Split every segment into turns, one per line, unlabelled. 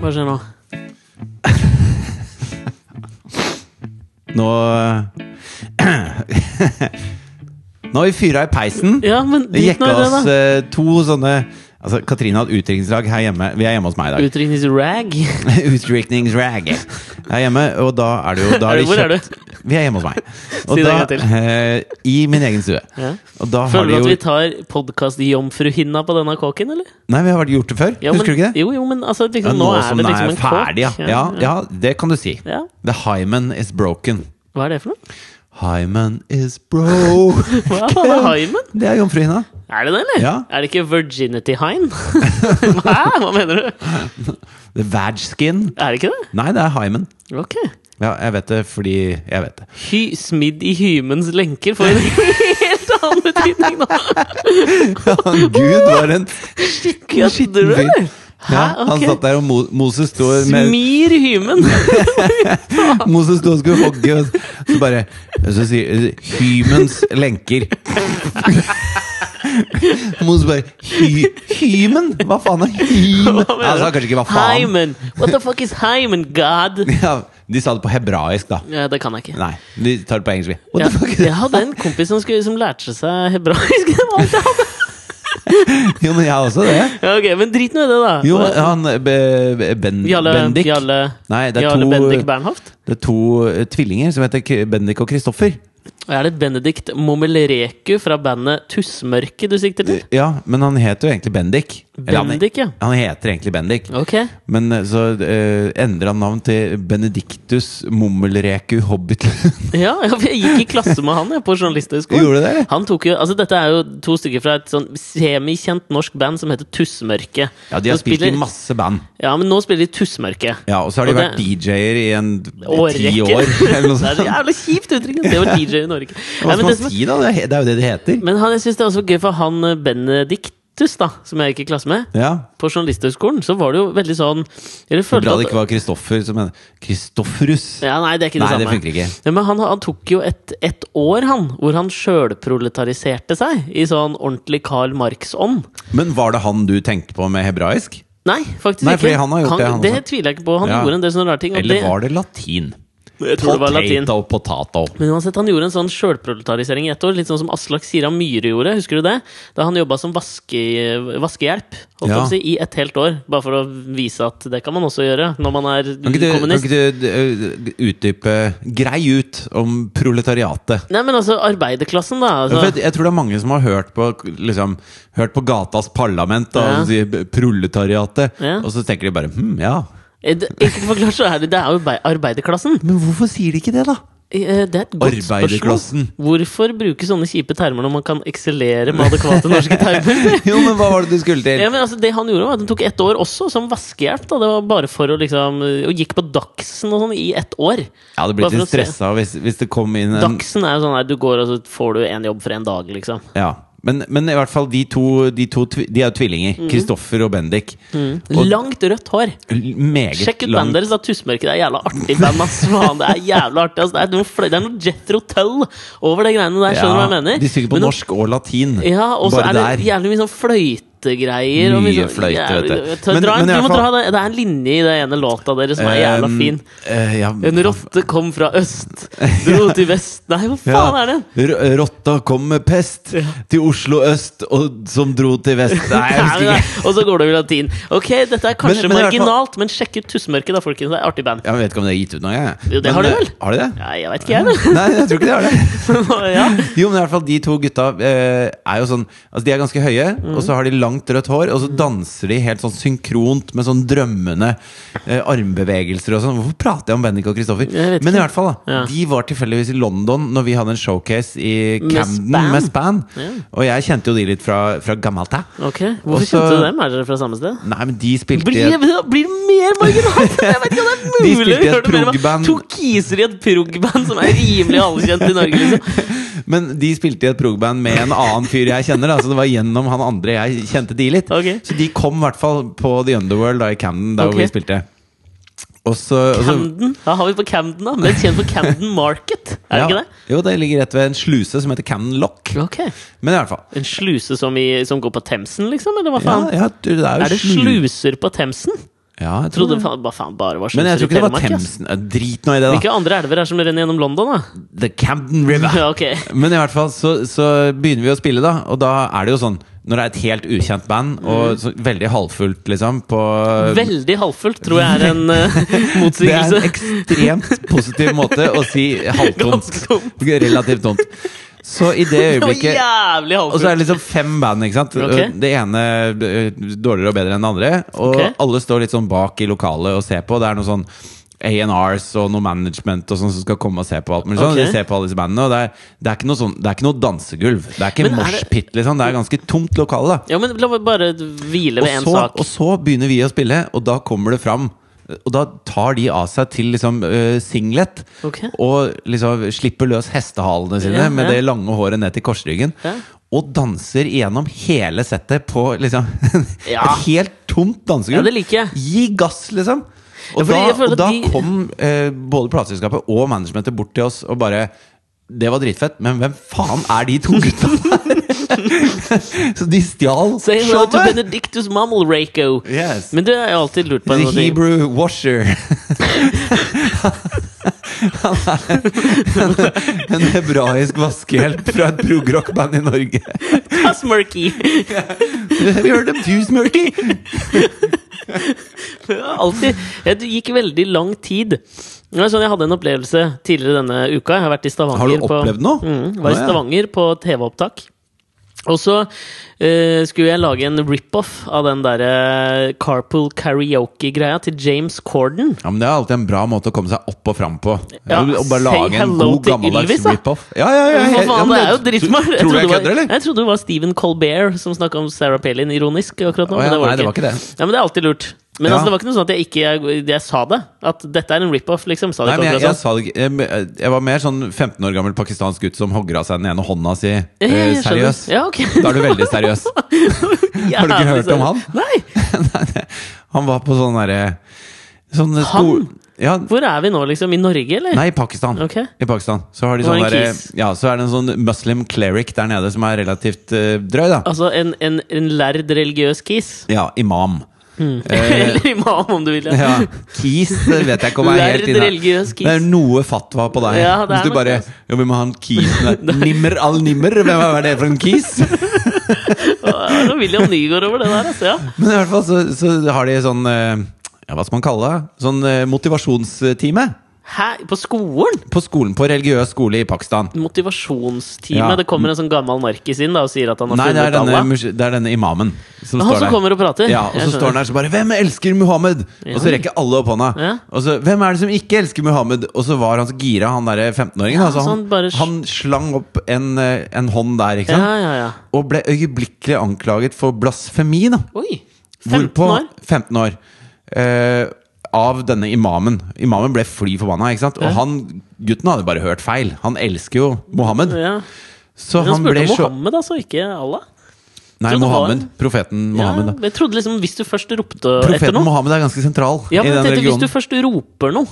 Hva skjer nå?
Nå eh, Nå har vi fyra i peisen.
Ja, men
Vi
dit nå
jekka
er det,
oss
da.
eh, to sånne Altså, Katrine har et utdrikningslag her hjemme. Vi er hjemme hos meg i dag.
Utdrikningsrag.
Utdrikningsrag. Her hjemme, og da er det jo da har de
Hvor er du?
kjøpt- Vi er hjemme hos meg.
Si det
da,
en gang til.
eh, I min egen stue.
Ja.
Og da har
Føler du
de
at
jo
vi tar podkast-jomfruhinna på denne kåken, eller?
Nei, vi har vært gjort det før.
Ja, men,
Husker du ikke det?
Jo, jo, men altså,
Ja,
liksom, nå, er
som
det
den
liksom en
ferdig, ja.
kåk.
ja. Ja, det kan du si.
Ja.
The hymen is broken.
Hva er det for noe?
Hymen is broken.
Hva er det, hymen?
Det er jomfruhinna.
Er det det, eller?
Ja.
Er det ikke virginity hine? Hæ? Hva mener du?
The vag skin.
Er det ikke det?
Nei, det er hymen.
Ok.
Ja, jeg vet det fordi jeg vet det.
Hy, smidd i hymens lenker får en helt annen betydning nå.
Han Gud var en
Kødder du,
skitten fyr.
eller?
Ja,
Hæ?
Han
Ok.
satt der, og Mo Moses sto med
Smir hymen!
Moses sto og skulle hogge, og så bare og Så sier Hymens lenker. Moses bare hy, Hymen? Hva faen er hymen?
Hva mener
Han sa
du?
kanskje ikke hva faen.
Hymen! What the fuck is hymen, god?
Ja, de sa det på hebraisk, da.
Ja, det kan jeg ikke.
Nei, de tar det på engelsk. vi. What
Ja,
the fuck?
jeg hadde en kompis som, skulle, som lærte seg hebraisk. Det var alt jeg hadde.
Jo, men jeg har også det.
Ja, ok, Men drit nå i det, da.
Jo, han be, be, ben,
Jarle,
Bendik.
Jarle,
Nei, det er
Jarle
to-
Bendik Bernhoft?
Det er to eh, tvillinger som heter K- Bendik og Kristoffer.
Og Er det Benedikt Momelreku fra bandet Tussmørket du sikter til?
Ja, men han heter jo egentlig Bendik. Eller
Bendik, ja.
Han, han heter egentlig Bendik.
Ok.
Men eh, så uh, endrer han navn til Benedictus Mummelreku Hobbitlund.
Ja, ja, for jeg gikk i klasse med han jeg, på Journalisthøgskolen.
Gjorde du det, eller?
Han tok jo, altså Dette er jo to stykker fra et sånn semikjent norsk band som heter Tussmørket.
Ja, de har
Nå
spilt
spiller-
i masse band.
Ja, men nå spiller de Tussmørket.
Ja, Og så har de
Og
vært DJ-er i en ti
Årrekke.
år. Eller noe
Det er
sånt.
så jævlig kjipt uttrykk! Det var DJ i Norge.
Hva
Nei,
skal
men, det
man
som,
si, da? Det er- Det er jo det det heter.
men han, jeg syns det er også gøy for han eh, Benediktus, da, som jeg gikk i klasse med.
Ja.
På Journalisthøgskolen så var det jo veldig sånn Eller følte
Bra det
at
ikke var Kristoffer som heter Kristofferus.
ja, Nei, det er ikke det
Nei, det
samme.
funker ikke.
Ja, men han, han tok jo et, et år, han, hvor han sjølproletariserte seg i sånn ordentlig Karl Marx-ånd.
Men var det han du tenkte på med hebraisk?
Nei, faktisk
Nei,
ikke.
fordi han har gjort det, han
det
også.
tviler jeg ikke på. Han
Ja.
gjorde en del sånne rare ting. og
Eller
det-
var det latin?
Jeg tror det var latin. Mm,
Potato, potato.
Men uansett, han gjorde en sånn sjølproletarisering i ett år, litt sånn som Aslak Sira Myhre gjorde, husker du det? Da han jobba som vaske, vaskehjelp holdt jeg
Ja.
på å si, i et helt år, bare for å vise at det kan man også gjøre når man er
Kan ikke du, kan
kommunist.
ikke du øh, utdype Grei ut om proletariatet.
Nei, men altså arbeiderklassen, da.
For
Altså,
jeg, jeg tror det er mange som har hørt på, liksom, hørt på gatas parlament da,
Ja.
og sier b- proletariatet,
Ja.
og så tenker de bare hm, ja.
eh, det- ikke forklart så er det, det er jo arbei- arbeiderklassen.
Men hvorfor sier de ikke det, da?
Eh, Det er et godt spørsmål.
Arbeiderklassen.
Hvorfor bruke sånne kjipe termer når man kan eksellere med adekvate norske termer?
Jo, men hva var det du skulle til?
Ja, men altså, det han gjorde var at Han tok ett år også som vaskehjelp. Da. Det var bare for å liksom Og gikk på Dagsen og sånn i ett år.
Jeg
Bare
hadde blitt
for å
litt
se.
stressa hvis, hvis det kom inn en
Dagsen er jo sånn her, du går og så får du en jobb for en dag, liksom.
ja. men, men i hvert fall, de to, de to tvi- De er jo tvillinger.
Mm.
Kristoffer og Bendik. Og
Langt rødt hår!
l- meget
Mm. Sjekk ut
lang-
bandet deres, da. Tussmørket. Det er jævla artig band, ass. Faen, det er jævla artig. Ass. Det er noe, fl- det er noe Jethro Tull over det greiene der, skjønner du hva jeg mener?
De synger på
Men nå-
norsk og latin.
Ja, og så
Bare
er det
der.
jævlig mye sånn fløytegreier. og mye
Mye
sånn-
fløyte,
jævlig-
vet du.
Ta-
Men-
dra en-
men i
du må
hvert
dra
fall-
det. Det er en linje i den ene låta deres som er jævla
Um,
fin.
eh, ja.
En rotte kom fra øst, dro til vest Nei, hva faen er den?
R- Rotta kom med pest til Oslo øst, og, som dro til vest. Nei, jeg
Nei,
husker
nei,
ikke.
nei. Og så går det over latin. Ok, dette er kanskje
Men- men i hvert fall-
marginalt, men sjekk ut Tussmørket, da, folkens. Det er artig band.
Jeg vet ikke om det er gitt ut noen gang. jeg.
Jo, det har
Men,
det vel?
eh, Har de det?
Nei, jeg veit ikke, jeg,
Nei, jeg tror ikke de har det.
men ja.
Jo, men i hvert fall de to gutta eh, er jo sånn Altså, de er ganske høye, og så har de langt rødt hår,
Mm.
og så danser de helt sånn synkront med sånn drømmende eh, armbevegelser og sånn. Hvorfor prater jeg om Bendik og Kristoffer?
Jeg vet
Men i hvert fall, da.
Ja.
De var tilfeldigvis i London når vi hadde en showcase i Camden
Span.
med Span.
Ja.
Og jeg kjente jo de litt fra, fra gammelt av.
Ok, Hvorfor
Også-
kjente du dem? Er dere fra samme sted?
Nei, men de spilte i
Blir,
Altså- et-
det blir mer marginalt! Jeg vet ikke om det er
De
mulig!
spilte i et
å gjøre det mer marginalt.
prog-band.
To kiser i et prog-band som er rimelig anerkjent i Norge, liksom.
Men de spilte i et progband med en annen fyr jeg kjenner. Da, så det var gjennom han andre jeg kjente de litt.
Ok.
Så de kom i hvert fall på The Underworld da, i Camden, der
Ok.
hvor vi spilte. Og så, og så
Camden. Da har vi på Camden, da. Mest kjent for Camden Market, er det
ja.
ikke det?
Jo, det ligger rett ved en sluse som heter Camden Lock.
Ok
Men i hvert fall.
En sluse som, i, som går på Themsen, liksom? Eller hva
Ja,
faen?
ja, du, det er jo
Er det
slu-
sluser på Themsen?
Ja, jeg tror
Trodde
det.
faen, ba, faen bare var
Men
sluser i
jeg tror ikke det var
Telemark, ass.
Themsen. Eh, Drit nå i det, da.
Hvilke andre elver er som renner gjennom London, da?
The Camden River.
Ja, ok.
Men i hvert fall så, så begynner vi å spille, da. Og da er det jo sånn Når det er et helt ukjent band, og så, veldig halvfullt, liksom, på
Veldig halvfullt tror jeg er en eh,
Det er en
motsigelse.
ekstremt positiv måte å si halvtomt.
Ganske tomt.
Relativt tomt. Så i det
Det var
øyeblikket
jævlig
Og så
halvfullt.
er det liksom fem band, ikke sant?
Ok.
Det ene eh, dårligere og bedre enn det andre. Og
Ok.
alle står litt sånn bak i lokalet og ser på. Det er noe sånn A&Rs og noe management og sånn som skal komme og se på alt mulig sånn.
Ok.
De ser på alle disse bandene, og det er, det er ikke noe sånn Det er ikke noe dansegulv. Det er ikke
Men er det-
moshpit, liksom. Det er ganske tomt lokale, da.
Ja, men la meg bare hvile ved
Og
én
så,
sak.
og så begynner vi å spille, og da kommer det fram. Og da tar de av seg til liksom eh, singlet
Ok.
og liksom slipper løs hestehalene sine
Ja,
med
ja.
det lange håret ned til korsryggen.
Ja.
Og danser gjennom hele settet på liksom
Ja.
et helt tomt dansegulv.
Ja, det liker jeg.
Gi gass, liksom!
Ja,
Og
fordi
da,
jeg føler
og
at
da
de-
kom eh, både plateselskapet og managementet bort til oss og bare Det var dritfett, men hvem faen er de to gutta der? Så de stjal
Say hello to
showet!
Benedictus Mammalraco.
Yes.
Men det har jeg alltid lurt på. en
The
annen ting.
Hebrew washer. Han er en, en hebraisk vaskehjelp fra et progrockband i Norge.
Pass, Murky!
Have you heard of Jews, Murky?
Alltid. Jeg gikk veldig lang tid. Det var sånn, Jeg hadde en opplevelse tidligere denne uka. Jeg har vært i Stavanger
Har du
på-
opplevd noe?
Mm, var
Å,
i
ja.
Stavanger på TV-opptak. Og så eh, skulle jeg lage en rip-off av den derre carpool karaoke-greia til James Corden.
Ja, men Det er alltid en bra måte å komme seg opp og fram på.
Ja,
Å bare
say
lage en
hello
god,
til
gammeldags
Ylvis, da.
rip-off. Ja, ja, ja,
Hva
ja, ja,
faen,
men
det er jo
det-
dritmar! Jeg
Tror du
trodde
jeg
det var-
kødder, eller?
Jeg trodde det var Stephen Colbert som snakka om Sarah Palin ironisk akkurat nå.
Å, ja,
men det var
nei, det
det
var
ikke.
ikke det.
Ja, men det er alltid lurt. Men
Ja.
altså, det var ikke noe sånn at jeg ikke jeg, jeg sa det. At dette er en rip-off, liksom. Sa det
Nei, men
ikke
jeg,
akkurat
jeg,
sånn.
sa det ikke. Jeg, jeg var mer sånn 15 år gammel pakistansk gutt som hogger av seg den ene hånda si.
Ja, ja,
Eh,
jeg skjønner.
seriøs.
Ja, ok.
Da er du veldig seriøs. Har du ikke hørt om han?
Nei!
Nei, det- han var på sånn derre sånn
Han?
sko- Ja,
Hvor er vi nå, liksom? I Norge, eller?
nei, i Pakistan.
Ok.
I Pakistan Så har de
Var
sånn
det en
derre
kis?
Ja, så er det en sånn muslim cleric der nede som er relativt eh, drøy, da.
Altså en, en, en lærd religiøs kis?
Ja, imam.
eller imam, om du vil. Ja.
Eh, Ja, Kis det vet jeg ikke om jeg er helt
Lærd
inne
religiøs kis.
Det er noe fatwa på deg.
Ja, det er
Hvis du
nok
bare
det, altså.
Ja, vi må ha en kis der. Nimmer al-nimmer, hvem er det for en kis?
det var William Nygaard over det der, altså. Ja.
Men i hvert fall så, så har de sånn eh, Ja, hva skal man kalle det? Sånn eh, motivasjonstime.
Hæ? På skolen?
På skolen, på religiøs skole i Pakistan.
Motivasjonstime.
Ja.
Det kommer en sånn gammel narkis inn da, og sier at han har
Nei, det er
funnet
denne,
Allah.
mus- det er denne imamen som
Han
står
som
der.
kommer og prater?
Ja, og
Jeg
så står han der så bare 'Hvem elsker Muhammed?' Og så rekker alle opp hånda.
Ja.
Og så 'Hvem er det som ikke elsker Muhammed?' Og så var han så gira, han derre 15-åringen. altså,
så
han,
han bare-
han slang opp en, eh, en hånd der, ikke
ja,
sant?
ja, ja.
Og ble øyeblikkelig anklaget for blasfemi, da.
Oi! 15
Hvorpå-
år?
15 år. Eh, av denne imamen. Imamen ble fly forbanna, ikke sant? Og han gutten hadde bare hørt feil. Han elsker jo Mohammed.
Ja.
Så
Men han
han ble
spurte om
så
Mohammed, altså, ikke Allah.
Nei,
trodde det var-
Mohammed. Profeten Mohammed.
ja,
da.
men jeg trodde liksom, Hvis du først ropte etter
Profeten
noe
Mohammed er ganske sentral
ja,
i
men
den
jeg tenkte, Hvis
religionen.
du først roper noe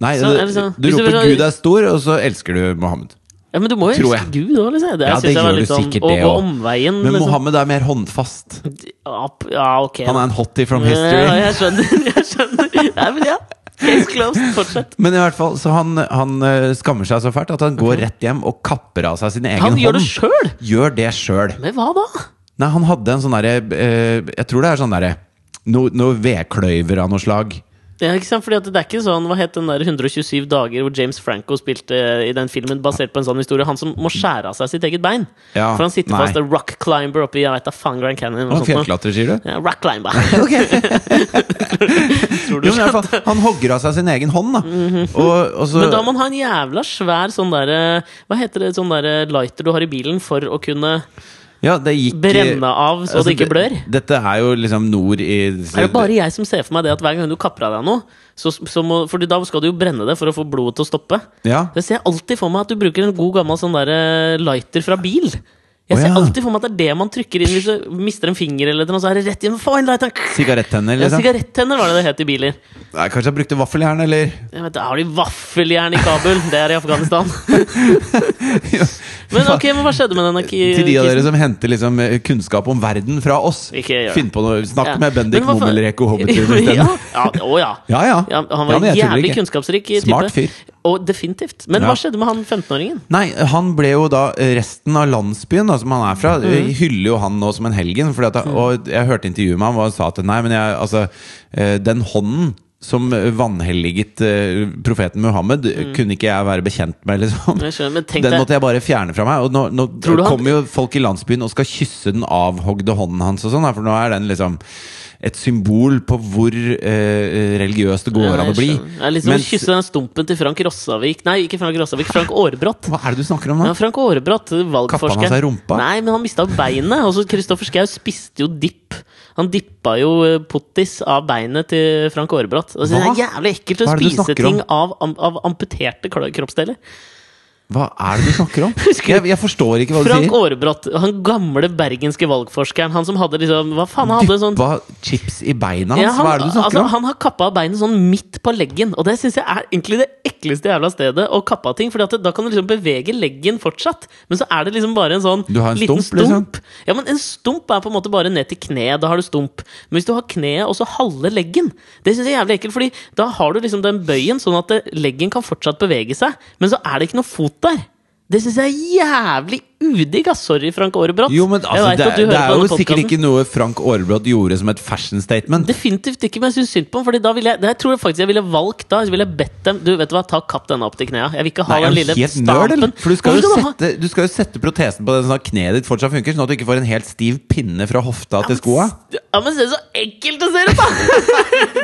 Nei,
Så,
du,
er det sånn-
du
hvis du Mm,
roper
vil ha-
'Gud er stor', og så elsker du Mohammed.
Ja, Men du må jo
Tror
elske Gud òg, liksom. Det,
Ja,
synes
det
jeg var
gjør du
litt sånn,
sikkert,
å
det
gå
også.
omveien.
Men
liksom.
Mohammed er mer håndfast.
Ja, Ja, ok.
Han er en hottie from
Ja,
history.
jeg skjønner. jeg skjønner Nei, men ja. Case closed. Fortsett.
Men i hvert fall, så han, han eh, skammer seg så fælt at han går rett hjem og kapper av seg sin egen
Mhm. Han gjør det
hånd.
sjøl!
gjør det sjøl.
Men hva da?
Nei, han hadde en sånn derre eh, Jeg tror det er sånn derre Noe no vedkløyver av noe slag.
Ja, ikke sant? Fordi at det er ikke sånn, Hva het den der 127 dager hvor James Franco spilte i den filmen basert på en sånn historie? Han som må skjære av seg sitt eget bein.
Ja,
For han sitter
nei.
fast en rock climber oppe i jeg vet da, faen Grand Canyon.
Han
Og sånt, noe.
fjellklatrer, sier du?
ja, rock climber. Tror du
Jo, men i hvert fall, han hogger av seg sin egen hånd, da. og, og så
Men da må man ha en jævla svær sånn derre Hva heter det? Sånn derre lighter du har i bilen for å kunne
ja, det gikk,
brenne av
altså,
så det ikke blør?
Dette er jo liksom nord i
Er det bare jeg som ser for meg det at hver gang du kapper av deg noe, så, så må, fordi da skal du jo brenne det for å få blodet til å stoppe.
Ja.
Det ser jeg alltid for meg at du bruker en god gammel sånn der eh, lighter fra bil. Jeg
Å,
ser
ja.
alltid for meg at det er det man trykker inn hvis du mister en finger eller noe, så er det rett inn. Faen, da, takk.
Sigarettenner,
Ja,
liksom.
sigarettenner var det det het i biler.
Nei, kanskje jeg brukte vaffeljern, eller
Jeg vet, har de vaffeljern i Kabul? Det er i Afghanistan. Men ok, men hva skjedde med denne ki-
Til de av dere
kisten?
som henter liksom eh, kunnskap om verden fra oss.
Ikke gjør det.
Finn på noe, Snakk
Ja.
med Bendik
Men hva faen-
Momelreko Hobbitur
ja,
isteden.
ja, å ja.
Ja, ja.
Ja, han
Ja,
var
men jeg tuller
jævlig
ikke.
kunnskapsrik type.
Smart fyr.
Og definitivt. Men
Ja.
hva skjedde med han 15-åringen?
Nei, han ble jo da eh, Resten av landsbyen da, som han er fra,
Mhm.
eh, hyller jo han nå som en helgen. Fordi at, og jeg hørte intervjuet med ham, og han sa at nei, men jeg, altså, eh, den hånden som vanhelliget eh, profeten Muhammed eh, kunne ikke jeg være bekjent med, liksom.
Mhm. Jeg skjønner, men tenk
Den
deg-
måtte jeg bare fjerne fra meg. Og nå, nå
Tror du han-
kommer jo folk i landsbyen og skal kysse den avhogde hånden hans, og sånn, da, for nå er den liksom et symbol på hvor eh, religiøs det går
Ja,
an å
jeg
bli.
skjønner. Det er liksom
Mens-
å kysse den stumpen til Frank Rossavik Nei, ikke Frank Rossavik, Frank Aarbrot.
hva er det du snakker om nå?
Ja, Frank Aarbrot, valgforsker.
Kappa han seg rumpa?
Nei, men han mista beinet. Altså, Kristoffer Schau spiste jo dipp. Han dippa jo eh, pottis av beinet til Frank Aarbrot. Altså, det
Hva?
er jævlig ekkelt å
Hva er det du
spise
snakker
ting
om?
av, am- av amputerte kro- kroppsdeler.
Hva er det du snakker om?
Husker du-
Jeg, jeg forstår ikke hva du
Frank
sier.
Aarbrot, han gamle bergenske valgforskeren. Han som hadde liksom Hva faen, han hadde en sånn
Dyppa chips i beina hans?
Ja, han,
hva er det du snakker
altså, Han har kappa av beinet sånn midt på leggen, og det syns jeg er egentlig det ekleste jævla stedet å kappe av ting, for da kan du liksom bevege leggen fortsatt, men så er det liksom bare en sånn
Du har en
liten
stump, liksom?
Ja, men en stump er på en måte bare ned til kneet, da har du stump. Men hvis du har kneet og så halve leggen, det syns jeg er jævlig ekkelt, Fordi da har du liksom den bøyen, sånn at eh, leggen kan fortsatt bevege seg, men så er det ikke noe fot der. Det syns jeg er jævlig udigg, ass. Sorry, Frank Aarebrot.
om? Jo, men
Jeg
altså,
vet
det,
at du
er- det
hører på
er jo
denne
sikkert
podcasten.
ikke noe Frank Aarbrot gjorde som et fashion statement.
Definitivt ikke, men jeg syns synd på ham. Fordi da ville jeg, det her tror jeg faktisk jeg ville valgt da. Så ville jeg bedt dem Du, vet du hva, ta kapp denne opp til knea. Jeg vil ikke ha
Nei, er
den
du
lille
helt nerd, eller?
stampen.
For du skal,
Hvorfor
jo
skal du ha-
sette, du skal jo sette protesen på det sånn at kneet ditt fortsatt funker, sånn at du ikke får en helt stiv pinne fra hofta til skoa.
Ja, men se så ekkelt det ser ut, da!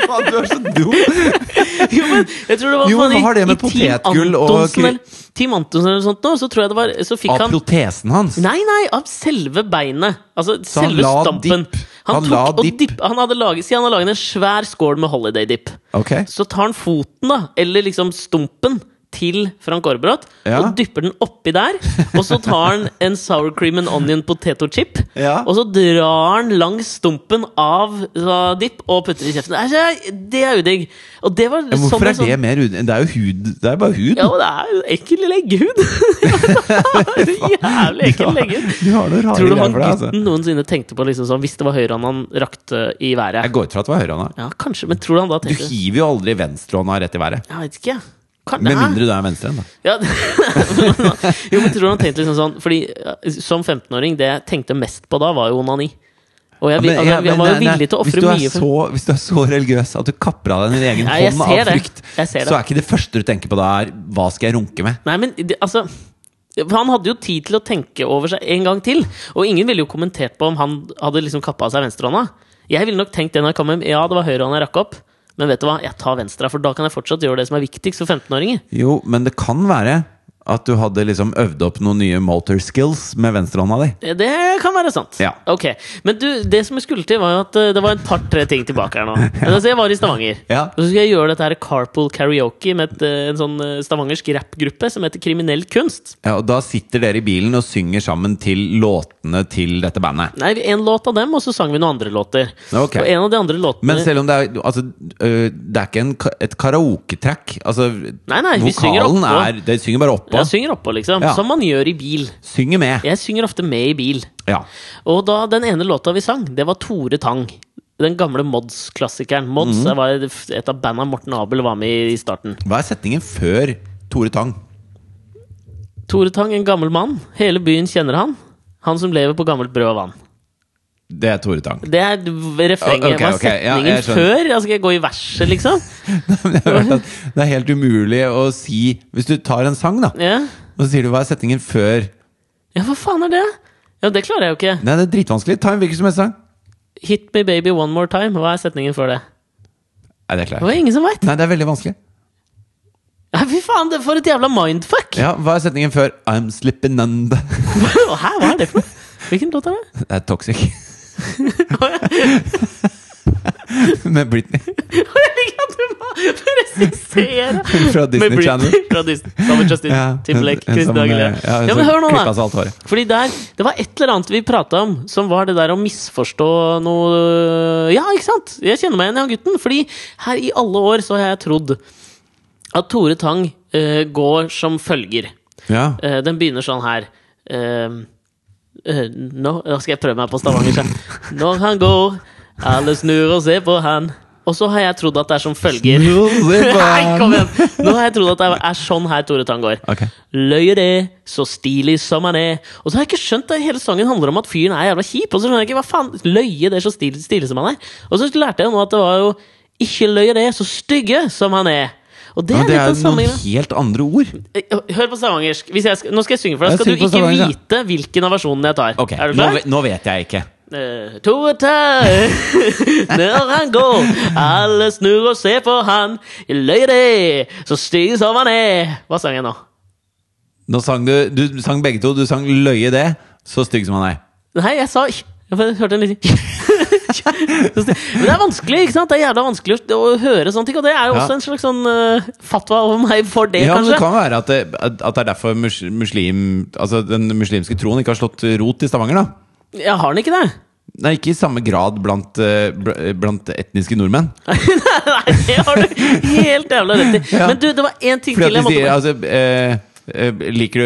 Faen, du er så dum!
Jo, men jeg tror det var faen
Jo, men
i-
hva har det med
i Team
potetgull og
Antonsen
kry-
eller- Team Antonsen eller noe sånt nå, så tror jeg det var Så fikk
Av
han
protesen hans.
Nei, nei, av selve beinet. Altså
han
selve
la
stampen.
dipp.
Han,
Han
tok
la
og
dipp.
dipp. Han hadde laget, si han hadde laget en svær skål med Holiday Dip.
Ok.
Så tar han foten, da, eller liksom stumpen, til Frank Aarbrot
Ja.
og dypper den oppi der. Og så tar han en sour cream and onion potato chip,
Ja.
og så drar han langs stumpen av så, dipp og putter i kjeften. Det er, så- det er udigg. Og det var
Ja,
som
Hvorfor
en
er det
sånn-
mer hud? Det er jo hud. Det er bare hud.
Ja, og det er jo ekkel leggehud! Jævlig ekkel leggehud.
Du har noen rare
Tror du
greier
han
for deg, altså.
gutten noensinne tenkte på liksom sånn, hvis det var høyrehånd han rakte i
Jeg
været?
går ut fra at det var høyrehånda.
Ja, kanskje, men tror du han da
Du
tenkte
hiver jo aldri venstrehånda rett i været.
Jeg vet ikke. Kan,
Med
Hæ?
mindre du er venstrehendt, da.
ja, Jo, men tror du han tenkte liksom sånn Fordi eh, som 15-åring, det jeg tenkte mest på da, var jo onani. Og jeg, vil-
Men-
altså,
ja,
jeg,
men
var jo
nei, nei,
villig til å
hvis
ofre
du er
mye for
så- Hvis du er så religiøs at du kapper av deg din egen
Nei, jeg
hånd
ser
av
det.
frykt,
Jeg ser det.
så er ikke det første du tenker på da, er 'hva skal jeg runke med'?
Nei, men det, altså for han hadde jo tid til å tenke over seg en gang til. Og ingen ville jo kommentert på om han hadde liksom kappa av seg venstrehånda. Jeg ville nok tenkt det når jeg kom hjem. Ja, det var høyrehånda jeg rakk opp. Men vet du hva, jeg tar venstre, for da kan jeg fortsatt gjøre det som er viktigst for 15-åringer.
Jo, men det kan være at du hadde liksom øvd opp noen nye motor skills med venstrehånda di.
Det kan være sant.
Ja.
Ok, Men du, det som jeg skulle til, var jo at eh, det var et par-tre ting tilbake her nå. Altså, jeg var i Stavanger.
Ja.
Og så skulle jeg gjøre dette her carpool karaoke med et, eh, en sånn eh, stavangersk rappgruppe som heter Kriminell kunst.
Ja, og da sitter dere i bilen og synger sammen til låtene til dette bandet.
Nei, en låt av dem, og så sang vi noen andre låter.
Ok.
Og en av de andre låtene
Men selv om det er altså, øh, Det er ikke en, ka- et karaoketrack. Altså,
Nei, nei, vi synger
vokalen
oppå.
er Dere synger bare oppå.
Jeg synger oppå, liksom.
Ja.
Som man gjør i bil.
Synger med.
Jeg synger ofte med i bil.
Ja.
Og da den ene låta vi sang, det var Tore Tang. Den gamle Mods-klassikeren. Mods
Mhm.
det var et av banda Morten Abel var med i starten.
Hva er setningen før Tore Tang?
Tore Tang, en gammel mann. Hele byen kjenner han. Han som lever på gammelt brød og vann.
Det er Tore Tang.
Det er refrenget.
Ok,
Hva er
ok, ja,
setningen
jeg skjønner.
før? Altså, skal jeg gå i verset, liksom?
Men jeg har hørt at det er helt umulig å si Hvis du tar en sang, da,
Ja.
og så sier du hva er setningen før
ja, hva faen er det? Ja, det klarer jeg jo ikke.
Nei, det er dritvanskelig. Ta en hvilken som helst sang.
Hit me baby one more time. Hva er setningen før det?
Nei, det
Det
klarer jeg ikke.
var ingen som veit!
Nei, det er veldig vanskelig.
Fy faen, det for et jævla mindfuck!
Ja, Hva er setningen før I'm slipping under?
Hæ, hva er det for noe? Hvilken låt er det?
Det er toxic. Med Britney.
Jeg liker at du bare- Regissere!
Fra Disney
Med Britney
Channel.
Fra Disney. Sammen med Justin Timberlake,
en- en
Christian
som, eh,
Aguilera.
Ja,
Ja, men hør nå,
Klippa
da!
seg alt håret.
Fordi der, Det var et eller annet vi prata om, som var det der å misforstå noe Ja, ikke sant? Jeg kjenner meg igjen i han gutten. Fordi her i alle år så har jeg trodd at Tore Tang eh, går som følger.
Ja.
Eh, den begynner sånn her. Ehm, eh, nå da skal jeg prøve meg på Stavanger. så. Når han går, alle snur og ser på han. Og så har jeg trodd at det er som følger.
Jo, se på
Nei, kom
han.
igjen! Nå har jeg trodd at det er sånn her Tore Tang går.
Ok.
Løyer det, så stilig som han er. Og så har jeg ikke skjønt at hele sangen handler om at fyren er jævla kjip. Og så skjønner jeg ikke hva faen Løye det, så stilig, stilig som han er. Og så lærte jeg nå at det var jo ikke løye det, så stygge som han er. Og det er
Ja, men det
litt
er
den
jo
samme Eh,
noen helt andre ord.
Hør på stavangersk. Hvis jeg skal, nå skal jeg synge for deg.
Jeg
Skal
synger
du
på
ikke
stavanger, ja.
vite hvilken av versjonene jeg tar?
Ok,
Er du
nå,
klar?
ve- nå vet jeg ikke.
Eh, Tore Tang, når han går, alle snur og ser på han. Løy det, så stygg som han er. Hva sang jeg nå?
Nå sang du, du sang begge to. Du sang 'Løye det', så stygg som han er.
Nei, jeg sa ikke. Jeg bare hørte en liten Men det er vanskelig, ikke sant? Det er jævla vanskelig å å høre sånne ting. Og det er jo
Ja.
også en slags sånn eh, fatwa over meg for det,
Ja, men
kanskje.
Det kan være at det, at det er derfor mus, muslim, altså den muslimske troen ikke har slått rot i Stavanger. da
Jeg har den ikke, det.
Nei, Ikke i samme grad blant, eh, bl- blant etniske nordmenn.
Nei, det har du helt jævla rett i.
Ja.
Men du, det var én ting
Fordi
til jeg
at de sier
måtte
altså, eh, eh, Liker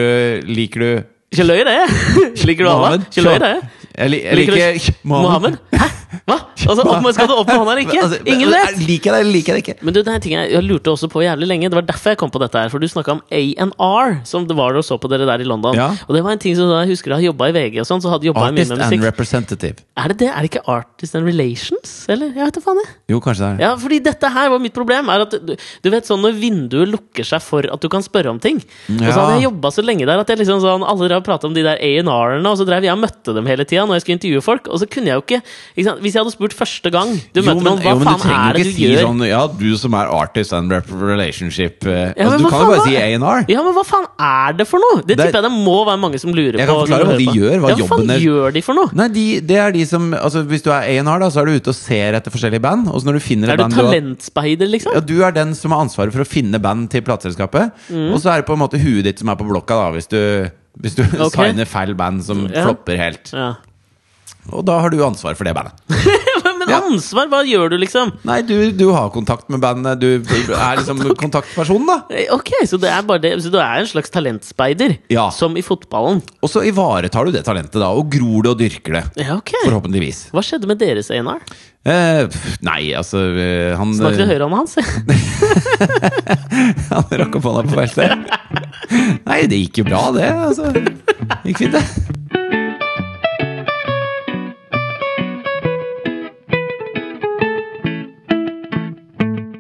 du Liker du
Ikke løy det! Liker du Allah?
Mohammed?
Ikke løy det!
Jeg, li- jeg
Liker du
liker
Mohammed? Hæ? Hva? Altså, opp med, skal du opp med hånda eller ikke?
Altså,
Ingen vet!
Liker jeg det, eller liker jeg det ikke?
Men du, det er en ting jeg, jeg lurte også på jævlig lenge. Det var derfor jeg kom på dette her. For du snakka om A&R, som det var da du så på dere der i London.
Ja.
Og det var en ting som da jeg husker da jeg jobba i VG og sånn, så hadde jobba jeg mye
Artist
med
and
musikk.
representative.
Er det det? Er det ikke Artist and Relations? Eller? Jeg vet da faen, jeg.
Jo, kanskje det er det.
Ja, fordi dette her var mitt problem. Er at du, du vet sånn Når vinduet lukker seg for at du kan spørre om ting. Og så hadde jeg
Ja.
jobba så lenge der at jeg liksom sånn alle drev og prata om de der A&R-ene, og så drev jeg og møtte dem hele tida når jeg skulle intervjue folk. Og så kunne jeg jo ikke, ikke sant? Hvis jeg hadde spurt første gang du møter noen, hva
men
faen er det du
si
gjør?
sånn Ja, du som er artist and rep relationship eh,
Ja, men
altså, Du
hva
kan jo bare
faen
si
er-
A&R.
Ja, men hva faen er det for noe? Det
Det er-
tipper jeg det må være mange som lurer på.
Jeg kan forklare
når
hva de
hører på.
gjør, hva
ja, hva
jobben
faen
er.
gjør de for noe?
Nei, de, det er de som altså, Hvis du er A&R, da, så er du ute og ser etter forskjellige band. Og så når du finner et
Er du
band du har-
talentspeider, liksom?
ja, du er den som har ansvaret for å finne band til plateselskapet.
Mm.
Og så er det på en måte huet ditt som er på blokka, da, hvis du, hvis du
Ok.
signer feil band som
Ja.
flopper helt.
Ja.
Og da har du ansvar for det bandet.
Men
Ja.
ansvar, hva gjør du, liksom?
Nei, du, du har kontakt med bandet. Du er liksom kontaktpersonen, da.
Eh, Ok, så det er bare det Så du er en slags talentspeider?
Ja.
Som i fotballen?
Og så ivaretar du det talentet, da. Og gror det og dyrker det.
Ja, ok
Forhåpentligvis.
Hva skjedde med deres, Einar?
Eh, pff, nei, altså eh, Han,
Snakk til
eh,
høyrehånda hans. jeg.
han rakk opp hånda på feil sted. Nei, det gikk jo bra, det. Altså. Det Gikk fint, det.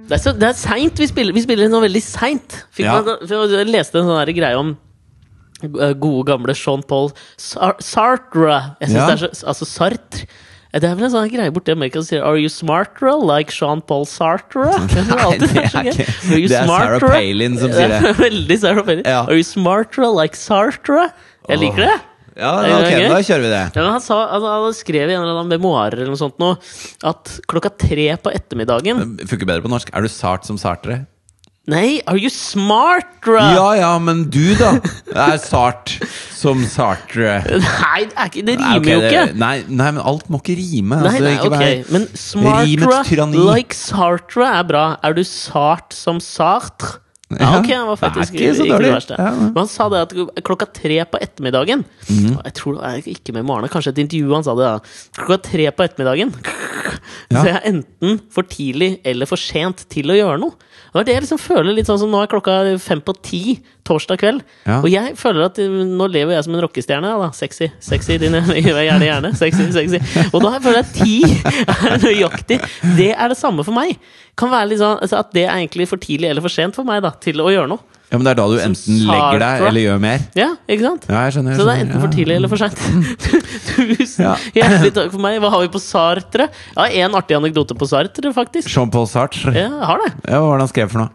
Det er, så- det er seint vi spiller. Vi spiller noe veldig seint. Fikk
Ja.
man- for Jeg leste en sånn her greie om eh, gode, gamle Sean Paul Sar- Sartre. Jeg synes
Ja.
det er så, altså Sartre. Eh, Det er vel en sånn greie borti Amerika som sier 'Are you smartere like Sean Paul Sartre?' Det har alltid vært så gøy. Are you
det er Sarah
smartere?
Palin som sier det.
er Veldig Sarah Palin.
Ja.
Are you smartere like Sartre? Jeg liker det.
Ja,
Er det
ok,
gøy?
da kjører vi det.
Ja, men han, sa, altså, han skrev i en eller annen memoarer eller noe sånt nå, at klokka tre på ettermiddagen
Funker bedre på norsk. Er du sart som sartere?
Nei, are you smart, bro?
Ja ja, men du, da? Er sart som sartere.
Nei, det, er ikke, det
Nei,
rimer
ok,
jo ikke.
det- Nei, nei, men alt må ikke rime.
Nei,
altså,
nei,
ikke
ok,
være-
Men
Rimets
smartra
tyranni.
like Sartre er bra. Er du sart som Sartre? Ja,
Ja,
ok, han var
det er
faktisk
ikke så
ikke det
dårlig.
verste.
Ja, ja.
Men han sa det at klokka tre på ettermiddagen
Mhm.
Jeg tror det er ikke med Marne, kanskje et intervju han sa det. da Klokka tre på ettermiddagen
Ja.
Så jeg er enten for tidlig eller for sent til å gjøre noe. Det var det jeg liksom føler litt sånn som nå er klokka fem på ti torsdag kveld.
Ja.
Og jeg føler at eh, nå lever jeg som en rockestjerne. da Sexy, sexy, din gjerne, gjerne. Sexy, sexy. Og da føler jeg at ti er nøyaktig. Det er det samme for meg. Kan være litt sånn altså, At det er egentlig for tidlig eller for sent for meg da til å gjøre noe.
Ja, men det er da du enten legger deg
sartre.
eller gjør mer.
Ja, ikke sant?
Ja, jeg skjønner.
Så det
jeg
er
skjønner,
enten for
ja.
tidlig eller for seint. Tusen
Ja.
hjertelig takk for meg. Hva har vi på Sartre? Ja, én artig anekdote på Sartre, faktisk.
Jean-Paul Sartre.
Ja, jeg har det.
Ja, hva var det han skrev for noe?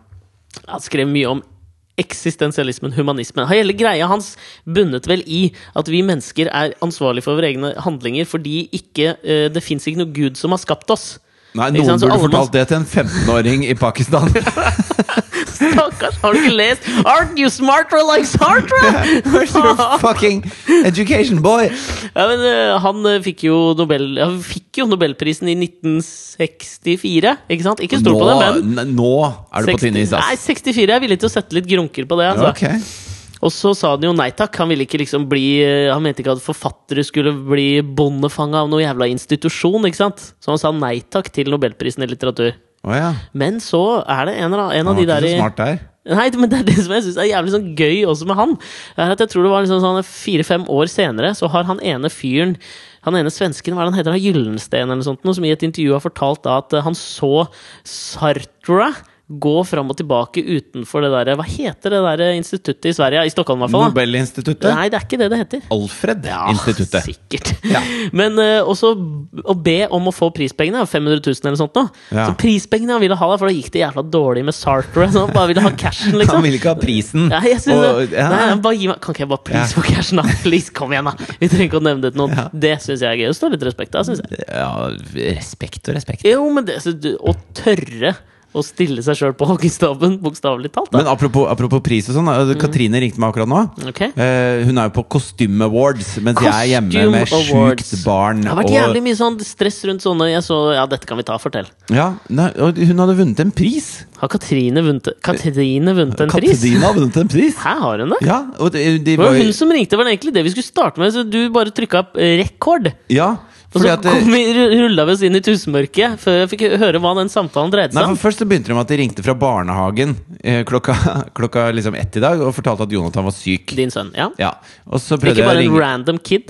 Han skrev mye om eksistensialismen, humanismen. Hele greia hans bunnet vel i at vi mennesker er ansvarlige for våre egne handlinger fordi ikke, eh, det fins ikke noe gud som har skapt oss.
Nei,
Ikke
noen
sant, så
burde
alle må-
fortalt det til en 15-åring i Pakistan.
Stakkars, har du ikke lest Aren't you smarter like Sartre?
Fucking education boy!
Ja, men eh, han eh, fikk jo, Nobel, han fikk jo Nobelprisen i 1964, ikke sant? Ikke stor på det, men
Nå, n- nå er du på
60
tynn is,
Nei,
ass.
64. Jeg er villig til å sette litt grunker på det. Altså.
Ok.
Og så sa han jo nei takk. Han ville ikke liksom bli eh, Han mente ikke at forfattere skulle bli bondefanga av noe jævla institusjon. ikke sant? Så han sa nei takk til Nobelprisen i litteratur.
Å ja.
Men så er det en, eller annen- en
Han
av
var
de
ikke
der
så
i
smart der.
Nei, men det er det som jeg syns er jævlig sånn gøy også med han. Er at jeg tror det var liksom sånn fire-fem år senere, så har han ene fyren han ene svensken, hva er det han heter, han Gyllensten eller noe sånt, noe som i et intervju har fortalt da at eh, han så Sartre gå fram og tilbake utenfor det derre Hva heter det derre instituttet i Sverige? I Stockholm, i hvert fall. da.
Nobelinstituttet.
Nei, det er ikke det det heter. Ah,
Alfred-instituttet.
Sikkert.
Ah, Ja.
Men eh, også b- å be om å få prispengene, 500 000 eller sånt nå.
Ja.
Så prispengene han ville ha, da, for da gikk det jævla dårlig med Sartre. Så han bare ville ha cashen,
Han
liksom.
vil ikke ha prisen.
Nei, jeg synes
Og-
det.
ja.
Nei, han bare gi meg Kan ikke jeg bare please få cashen, da? Please, kom igjen, da! Vi trenger ikke å nevne det til noen. Det syns jeg er gøy. Det står litt respekt av, syns jeg.
Ja, respekt og respekt.
Jo, men det så du- Å tørre å stille seg sjøl på hockeystaven, bokstavelig talt, da. Mm.
Men apropos, apropos pris og sånn, da, Katrine ringte meg akkurat nå.
Ok.
Eh, hun er jo på Costume Awards, mens jeg er hjemme
Costume
med sjukt
Awards.
barn.
Det har vært jævlig mye sånn stress rundt sånne Jeg så Ja, dette kan vi ta. Fortell.
ja, nei, og hun hadde vunnet en pris.
Har Katrine vunnet, Katrine vunnet en pris?
Katrine hadde vunnet en pris!
Her har hun det!
Ja, og de, de
Det var
var
jo
jo
hun som ringte, var det egentlig det vi skulle starte med. Så du bare trykka opp eh, rekord.
Ja,
Og
fordi
så
at eh, det-
kom vi, rulla vi oss inn i tusmørket før jeg fikk høre hva den samtalen dreide
Nei,
seg om.
for Først så begynte det med at de ringte fra barnehagen eh, klokka, klokka liksom ett i dag og fortalte at Jonathan var syk.
Din sønn. Ja.
Ja, og så prøvde
Ikke
jeg å
bare en
ringe
random kid.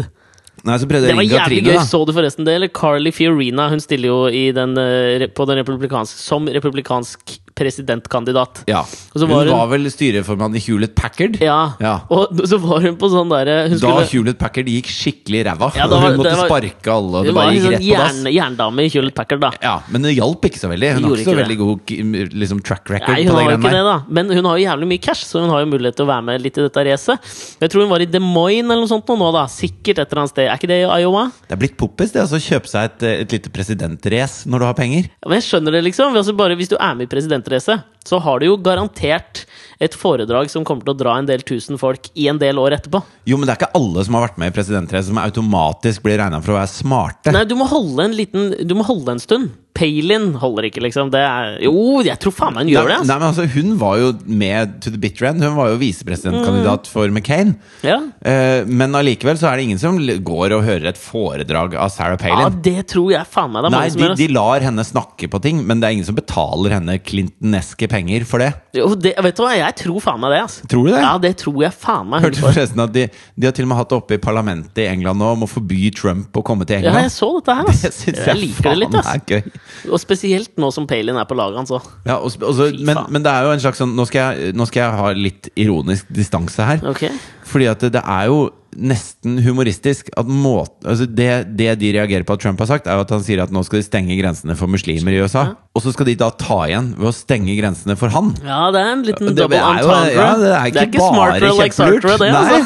Nei, så prøvde
Det
jeg å
var
ringe
jævlig
Katrine,
gøy.
da.
Så du forresten det? Eller Carly Fiorina, hun stiller jo i den, eh, re- på den republikansk, som republikansk presidentkandidat.
Ja.
Og så
Hun
var
var,
hun-
vel styreformann i Hewlett Packard.
Ja.
Ja.
Og så var hun på sånn derre Hun
Da
skulle
Hewlett Packard gikk skikkelig ræva.
Ja, da
og
var-
hun måtte
det var-
sparke alle,
Hun
og det
var
bare
en
gikk
sånn
rett på dass.
jern, jerndame i Hewlett Packard, da.
Ja, men det hjalp ikke så veldig.
Det
Hun har ikke så
gjorde
veldig god k- liksom, track record
Nei,
på
hun
det
har jo ikke
greiene
det,
der.
da. Men hun har jo jævlig mye cash, så hun har jo mulighet til å være med litt i dette racet. Jeg tror hun var i Des Moines eller noe sånt nå, nå da. Sikkert et eller annet sted. Er ikke det i Iowa?
Det er blitt poppis det, altså, å kjøpe seg et, eh, et lite presidentrace når du har penger.
Ja, Men jeg skjønner det, liksom. Altså bare hvis du er med i presidentracet, så har du jo garantert et foredrag som kommer til å dra en del tusen folk i en del år etterpå.
Jo, men det er ikke alle som har vært med i presidentrace som automatisk blir regna for å være smarte.
Nei, du må holde en liten Du må holde en stund. Palin holder ikke, liksom. Det er Jo, jeg tror faen meg hun gjør det.
Nei,
Altså.
nei, men altså, hun var jo med to the bitter end. Hun var jo visepresidentkandidat
Mm.
for McCain.
altså. Ja.
Eh, men allikevel så er det ingen som l- går og hører et foredrag av Sarah
ja,
Palin.
det tror jeg faen meg det er
Nei,
mange som
de,
gjør. altså.
de lar henne snakke på ting, men det er ingen som betaler henne clintoneske penger for det.
Jo, det, vet du hva, jeg tror faen meg det, altså.
Tror du det?
Ja, det tror jeg faen meg. hun
Hørte du forresten at de, de har til og med hatt det oppe i parlamentet i England nå om å forby Trump å komme til
Ja, jeg
England?
så dette her, ass.
det syns jeg,
jeg liker det litt, ass.
faen er gøy.
Og spesielt nå som Palin er på laget hans òg.
Ja, og, sp- og så, men,
faen.
men det er jo en slags sånn Nå skal jeg, nå skal jeg ha litt ironisk distanse her.
Ok.
Fordi at det, det er jo nesten humoristisk at måten altså det, det de reagerer på at Trump har sagt, er jo at han sier at nå skal de stenge grensene for muslimer i USA. Og så skal de da ta igjen ved å stenge grensene for han.
Ja, det er en liten Mm,
Det,
double
er jo,
entendre.
ja, det er ikke,
smart
bare
for like
kjempelurt.
Sartre, det, altså.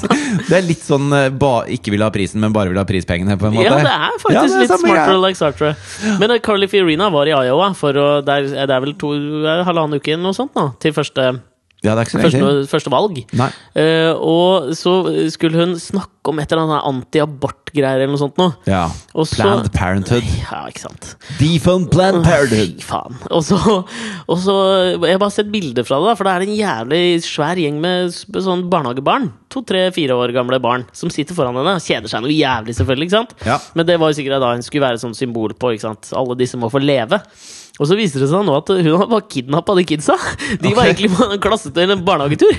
nei, nei, det er litt sånn eh, ba, ikke vil ha prisen, men bare vil ha prispengene, på en måte.
Ja, det er faktisk
Ja, det er
litt
samme
smartere
greia.
like Sartre. Men eh, Carly Fiorina var i Iowa for å Det er, det er vel to eh, halvannen uke eller noe sånt nå, til første,
Ja, det er ikke så
første,
veldig.
første valg.
Nei.
Eh, og så skulle hun snakke om et eller annet sånn anti-abort-greier eller noe sånt nå.
Ja.
Og så-
Planned Parenthood.
Ja, ikke sant.
Defund Planned Parenthood.
Fy faen. Og så, og så Jeg har bare sett bilder fra det, da for det er en jævlig svær gjeng med s- sånn barnehagebarn. To, tre, fire år gamle barn som sitter foran henne. og Kjeder seg noe jævlig, selvfølgelig. ikke sant?
Ja.
Men det var jo sikkert da hun skulle være sånn symbol på ikke sant? alle disse må få leve. Og så viser det seg nå at hun var kidnappa, de kidsa. De var
Ok.
egentlig på en klassetur eller en barnehagetur.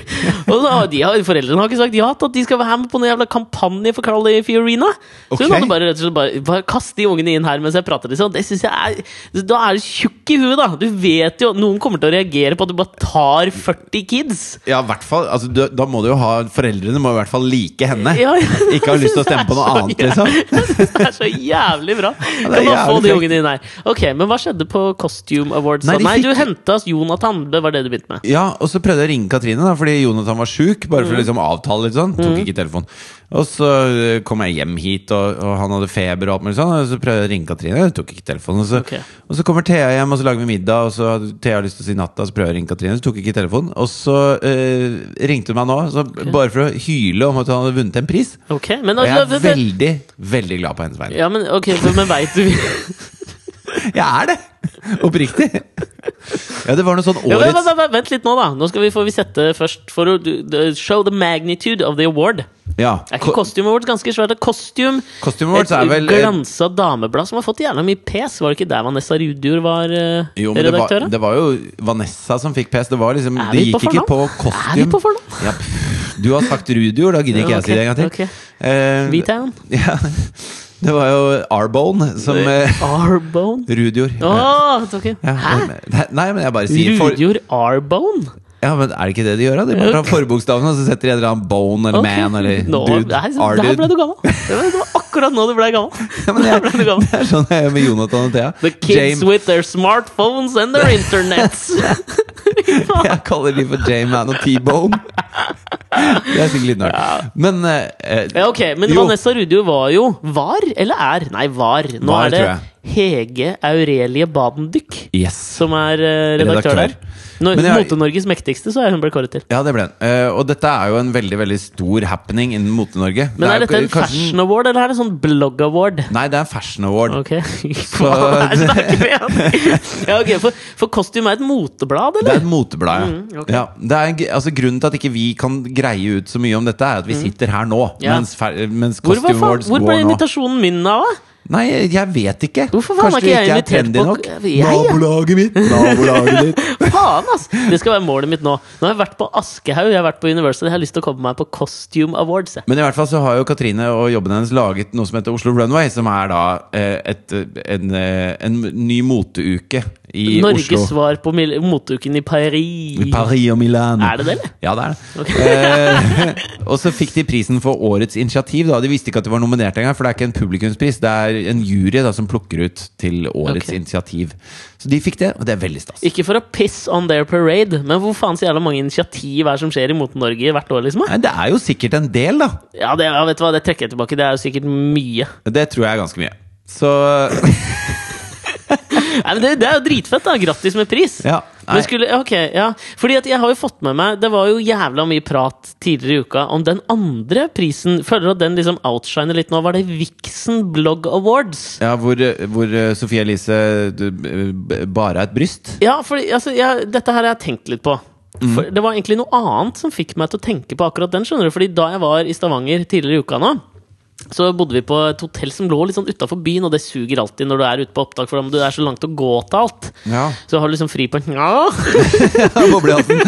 Og så, har de har, foreldrene har ikke sagt ja til at de skal være med på noen jævla kampanje for Carly Fiorina. Så hun
Ok.
hadde bare bare rett og slett bare, bare kast de ungene inn her mens jeg prater. Liksom. Det synes jeg er Da er du tjukk i huet, da! Du vet jo Noen kommer til å reagere på at du bare tar 40 kids.
Ja, i hvert fall, altså, du, da må du jo ha Foreldrene må i hvert fall like henne.
Ja, ja.
Ikke ha lyst til å stemme på noe annet,
Jeg
liksom.
synes Det er så jævlig bra!
det er
Kan bare få
jævlig
de
frekt.
ungene inn her. Ok, men hva skjedde på Cos- Costume Awards. Nei,
Nei, de
Nei du
fikk-
henta oss Jonathan. Det var det du begynte med.
Ja, og så prøvde jeg å ringe Katrine, da, fordi Jonathan var sjuk. Bare
Mm.
for å liksom avtale litt sånn. Tok ikke telefonen. Og så eh, kom jeg hjem hit, og, og han hadde feber og alt mulig sånn. Og så prøvde jeg å ringe Katrine, tok ikke telefonen. Og så,
Ok.
og så kommer Thea hjem, og så lager vi middag, og så hadde Thea lyst til å si natta, så prøver jeg å ringe Katrine, så tok ikke telefonen. Og så eh, ringte hun meg nå, så bare for å hyle om at han hadde vunnet en pris.
Ok, men,
Og jeg er veldig, veldig glad på hennes vegne.
ja, men, ok, for- men veit du
Jeg er det! Oppriktig. Ja, det var noe sånn
Ja, vent,
årets
vent, vent, vent litt nå, da. Nå skal vi, får vi sette først for å du- du- show the magnitude of the award.
Ja.
Er ikke Costume Awards ganske svært? Det er Costume
Costume Awards
et
er vel eh,
glansa dameblad som har fått jævla mye pes. Var det ikke der Vanessa Rudior var eh,
Jo, men det var,
redaktør? da?
det var jo Vanessa som fikk pes. Det var liksom,
Er
det
vi på
gikk ikke på
fornavn? Er vi
costume.
på fornavn?
Ja, du har sagt Rudior, da gidder ikke
Ja,
jeg si det en gang til.
ok, ok.
Eh,
Vitown?
ja, det var jo Arbone som eh,
Arbone?
Rudior.
Åh, ok.
Ja,
Hæ?
Nei, nei, men jeg bare sier for,
Rudior Arbone?
Ja, men Er det ikke det de gjør? da? De bare tar forbokstavene og så setter de en eller annen bone eller
Ok.
man eller
nå,
dude.
Nei, så,
Ar
der ble
dude.
du gammel. Det var, det var akkurat nå du ble gammel.
Ja, men
Der
jeg,
ble du gammel.
det er sånn jeg gjør med Jonathan og Thea.
The kids
Jame-
with their smartphones and their internets.
Jeg kaller de for J-Man og T-Bone. Det er sikkert litt nært. Men eh,
Ja, ok, Men
Jo.
Vanessa Rudio var jo Var eller er? Nei, var. Nå
Var,
er det
tror
Hege Aurelie Badendyk
yes.
som er eh, redaktør,
Redaktør.
der. Når-
Men jeg-
Mote-Norges mektigste, så er hun ble kåret til.
Ja, det ble den. Eh, og dette er jo en veldig veldig stor happening innen Mote-Norge.
Men er,
jo
dette en
k- kanskje-
fashion award, eller er det sånn blog award?
Nei, det er en fashion award.
Ok, Hva er det snakker vi om? Ja, ok, for, for Costume er et moteblad,
Det
eller?
er et moteblad, ja.
Mm, ok.
ja det er, en g- altså, grunnen til at ikke vi kan greie ut så mye om dette, er at vi sitter her nå.
Mm. Ja.
Mens, fer- mens
Hvor, var
Costume
faen-
Awards
hvor ble
går nå.
invitasjonen min av? da?
Nei, jeg vet ikke.
Hvorfor faen er
Kanskje det
ikke jeg
er trendy
invitert på-
nok?
Jeg, ja.
Nabolaget mitt! Nabolaget ditt.
Faen, ass! Det skal være målet mitt nå. Nå har jeg vært på Askehaug, jeg har vært på University, jeg har lyst til å komme meg på Costume Awards. Jeg.
Men i hvert fall så har jo Katrine og jobben hennes laget noe som heter Oslo Runway, som er da eh, et, en, eh, en ny moteuke i
Norges
Oslo.
svar på mil- moteuken i Paris.
Paris og Milan.
Er det det, eller?
Ja, det er det. Eh, og så fikk de prisen for årets initiativ. Da. De visste ikke at de var nominert engang, for det er ikke en publikumspris. Det er en jury da, som plukker ut til årets
Ok.
initiativ. Så de fikk det, og det er veldig stas.
Ikke for å piss on their parade, men hvor faen så jævla mange initiativ er som skjer i Mote-Norge hvert år, liksom? da?
Nei, det er jo sikkert en del, da.
Ja, det, ja, vet du hva, det trekker jeg tilbake. Det er jo sikkert mye.
Det tror jeg er ganske mye. Så
Nei, men det, det er jo dritfett, da. Grattis med pris.
ja.
Men skulle, ok, ja Fordi at jeg har jo fått med meg Det var jo jævla mye prat tidligere i uka om den andre prisen. Føler du at den liksom outshiner litt nå? Var det Vixen Blog Awards?
Ja, hvor, hvor eh, Sofie Elise du, eh, b- bare er et bryst.
Ja, for altså, jeg, dette her har jeg tenkt litt på.
Mhm.
For det var egentlig noe annet som fikk meg til å tenke på akkurat den. skjønner du Fordi da jeg var i Stavanger tidligere i uka nå så bodde vi på et hotell som lå litt sånn utafor byen, og det suger alltid når du er ute på opptak, for om du er så langt å gå til alt,
Ja.
så har du liksom fri på ja.
Boblehalsen.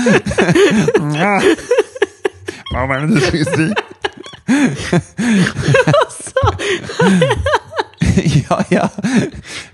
Hva var det du skulle si?
Altså.
ja, ja.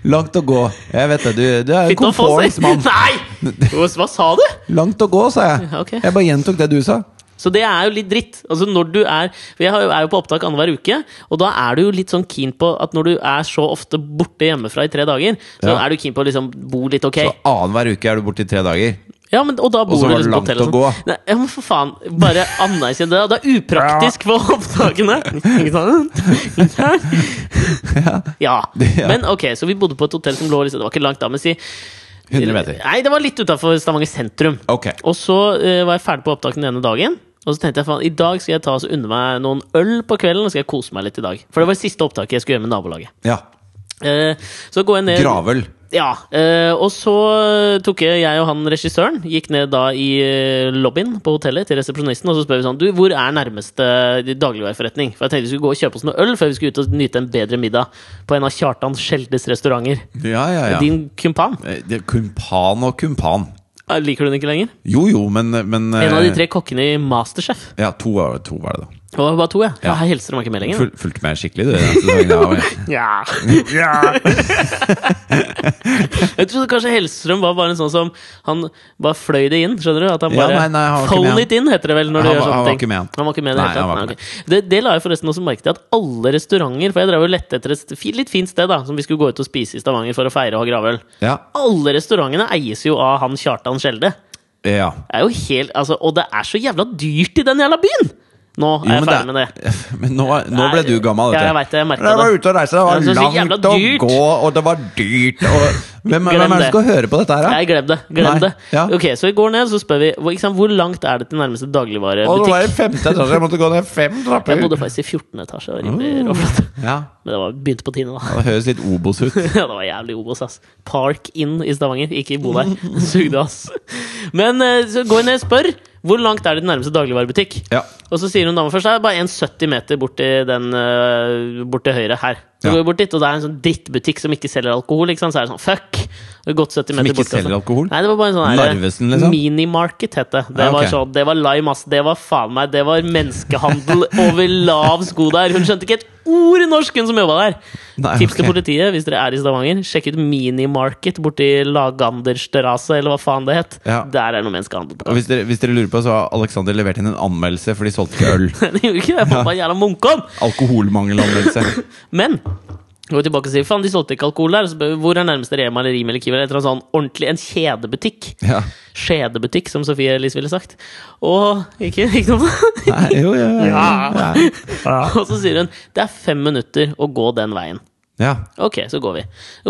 Langt å gå. Jeg vet det. Du, du er en
Fitte og foss.
komfortens mann.
Nei! Hva hva sa du?
Langt å gå, sa jeg.
Ja, ok.
Jeg bare gjentok det du sa.
Så det er jo litt dritt. Altså når du er For jeg har jo- er jo på opptak annenhver uke, og da er du jo litt sånn keen på at når du er så ofte borte hjemmefra i tre dager, så
Ja.
er du keen på å liksom bo litt ok.
Så Annenhver uke er du borte i tre dager.
Ja, men, og da bor
så
du
var det
liksom på
langt
hotellet.
å
og sånn. Nei, ja, men for faen, bare anerkjenn det. da. Det er upraktisk for opptakene. Ikke sant? Ikke sant? Ja.
Ja.
Men ok, så vi bodde på et hotell som lå liksom, Det var ikke langt da, men si
100 meter.
Nei, det var litt utafor Stavanger sentrum.
Ok.
Og så eh, var jeg ferdig på opptaket den ene dagen. Og så tenkte jeg faen, i dag skal jeg ta og unne meg noen øl på kvelden og skal jeg kose meg litt i dag. For det var det siste opptaket jeg skulle gjøre med nabolaget.
Ja.
Eh, så går jeg ned
Gravøl.
ja, eh, og så tok jeg, jeg og han regissøren gikk ned da i eh, lobbyen på hotellet til resepsjonisten, og så spør vi sånn Du, hvor er nærmeste dagligvareforretning? For jeg tenkte vi skulle gå og kjøpe oss noe øl før vi skulle ut og nyte en bedre middag på en av Kjartan Skjeldes restauranter.
Ja, ja, ja.
Eh, Din kumpan.
Eh, det er Kumpan og kumpan.
Eh, Liker du den ikke lenger?
Jo, jo, men, men
En av de
eh,
tre kokkene i Masterchef.
Ja, to, var- to var det, da.
Det var bare to, ja.
Ja.
Jeg hilser meg ikke meldingen.
Ful, fulgte meg skikkelig, du. den sesongen der, var jeg-
Ja.
Ja.
Jeg trodde kanskje Hellstrøm var bare en sånn som Han bare fløy det inn, skjønner du? At han
Ja,
bare
nei, nei, han var ikke
Phone
med.
it in, heter det vel når
Han
du gjør
var-
sånne
han var
ting.
ikke med.
Han var ikke med i det
Nei,
hele
han
tatt.
var
Nei, ok. Det, det la jeg forresten også merke til, at alle restauranter For jeg drev og lette etter et fi- litt fint sted da som vi skulle gå ut og spise i Stavanger for å feire og ha gravøl.
ja.
Alle restaurantene eies jo av han Kjartan Skjelde.
ja.
Det er jo helt, altså, og det er så jævla dyrt i den jævla byen! Nå er
Jo,
jeg
men
ferdig med det.
Men nå, nå ble du gammel,
Ja,
vet
jeg vet det, jeg merket
Jeg var
det.
ute og reiste, det
Ja,
var
det er så jævla
langt å
dyrt.
gå, og det var dyrt og Hvem, hvem
Glem
er det som
det.
skal høre på dette her, da?
Nei, glem det. Glem
Nei,
det.
ja.
Ok, Så vi går ned så spør vi hvor- ikke sant, hvor langt er det til nærmeste
Og det
dagligvarebutikk.
var i femte etasje, jeg måtte gå ned fem
Jeg
trapper.
bodde faktisk i 14. etasje. Det var
Ah.
rimelig råflott.
Uh. Ja,
Men det var, begynte på tiende, da.
Det høres litt obos ut.
Ja, det var jævlig obos, ass. Park Inn i Stavanger. Ikke bo der. Sugde, ass. Men eh, så går vi ned og spør hvor langt er det til nærmeste dagligvarebutikk.
Ja.
Og så sier hun dama først Det er bare en 70 meter bort til, den, eh, bort til høyre her. Så
Ja.
går vi bort dit, og det er en sånn drittbutikk som ikke selger alkohol. Ikke sant? Så er det sånn fuck! Og gått 70 meter
ikke
bort, og
selger
så-
alkohol?
Nei, det var bare en sånn her,
Narvesen, liksom?
Minimarket het det. Det,
Ja,
var
ok.
sånn, det var lime, ass. Det var faen meg Det var menneskehandel over lav sko der. Hun skjønte ikke et ord i norsk, hun som jobba der.
Nei,
Tips til
ok.
politiet hvis dere er i Stavanger. Sjekk ut Minimarket borti Laganderstrasse, eller hva faen det het.
Ja.
Der er det noe menneskehandel. på gang.
Og hvis dere, hvis dere lurer på, så har Alexander levert inn en anmeldelse, for de solgte ikke øl.
Det gjorde ikke det! Faen meg jævla munkeom!
Alkoholmangelanmeldelse.
Men går vi tilbake og sier faen, de solgte ikke alkohol der. og Så spør vi hvor er nærmeste Rema eller Rimi eller Kiwi? Eller et eller annet sånn ordentlig en kjedebutikk.
Ja.
Skjedebutikk, som Sofie Elise ville sagt. Og ikke, ikke noe
Nei, jo, ja, ja.
Ja. Og så sier hun det er fem minutter å gå den veien.
ja.
Ok, så går vi.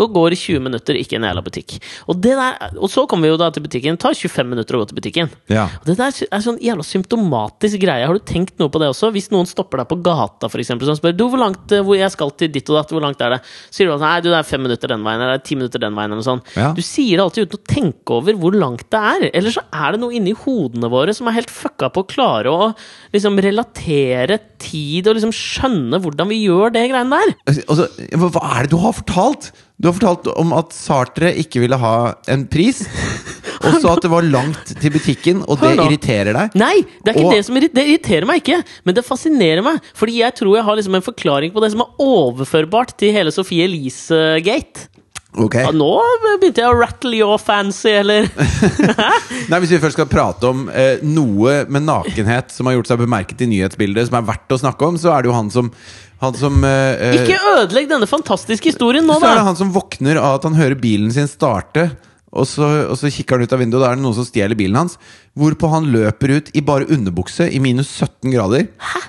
Og går i 20 minutter, ikke en jævla butikk. Og, det der, og så kommer vi jo da til butikken. Det tar 25 minutter å gå til butikken.
ja.
Og Det der er sånn jævla symptomatisk greie. Har du tenkt noe på det også? Hvis noen stopper deg på gata for eksempel, som spør du hvor langt eh, hvor jeg skal til ditt og datt, hvor langt er det? Så sier du at nei, du, det er fem minutter den veien, eller det er ti minutter den veien, eller noe sånt.
Ja.
Du sier det alltid uten å tenke over hvor langt det er. Eller så er det noe inni hodene våre som er helt fucka på å klare å liksom relatere tid og liksom skjønne hvordan vi gjør det greiene der.
Altså, hva hva er det du har fortalt? Du har fortalt om at Sartre ikke ville ha en pris, og så at det var langt til butikken, og det
Hør nå.
irriterer deg.
Nei, det er ikke
Og-
det som irri- det irriterer meg ikke, men det fascinerer meg. Fordi jeg tror jeg har liksom en forklaring på det som er overførbart til hele Sophie Elise-gate.
Ok
Ja, nå begynte jeg å rattle your fancy, eller
Nei, Hvis vi først skal prate om eh, noe med nakenhet som har gjort seg bemerket i nyhetsbildet, som er verdt å snakke om, så er det jo han som, han som eh, eh,
Ikke ødelegg denne fantastiske historien nå,
Så er det
da!
han som våkner av at han hører bilen sin starte. Og så, og så kikker han ut av vinduet, og da er det noen som stjeler bilen hans. Hvorpå han løper ut i bare underbukse i minus 17 grader. Hæ?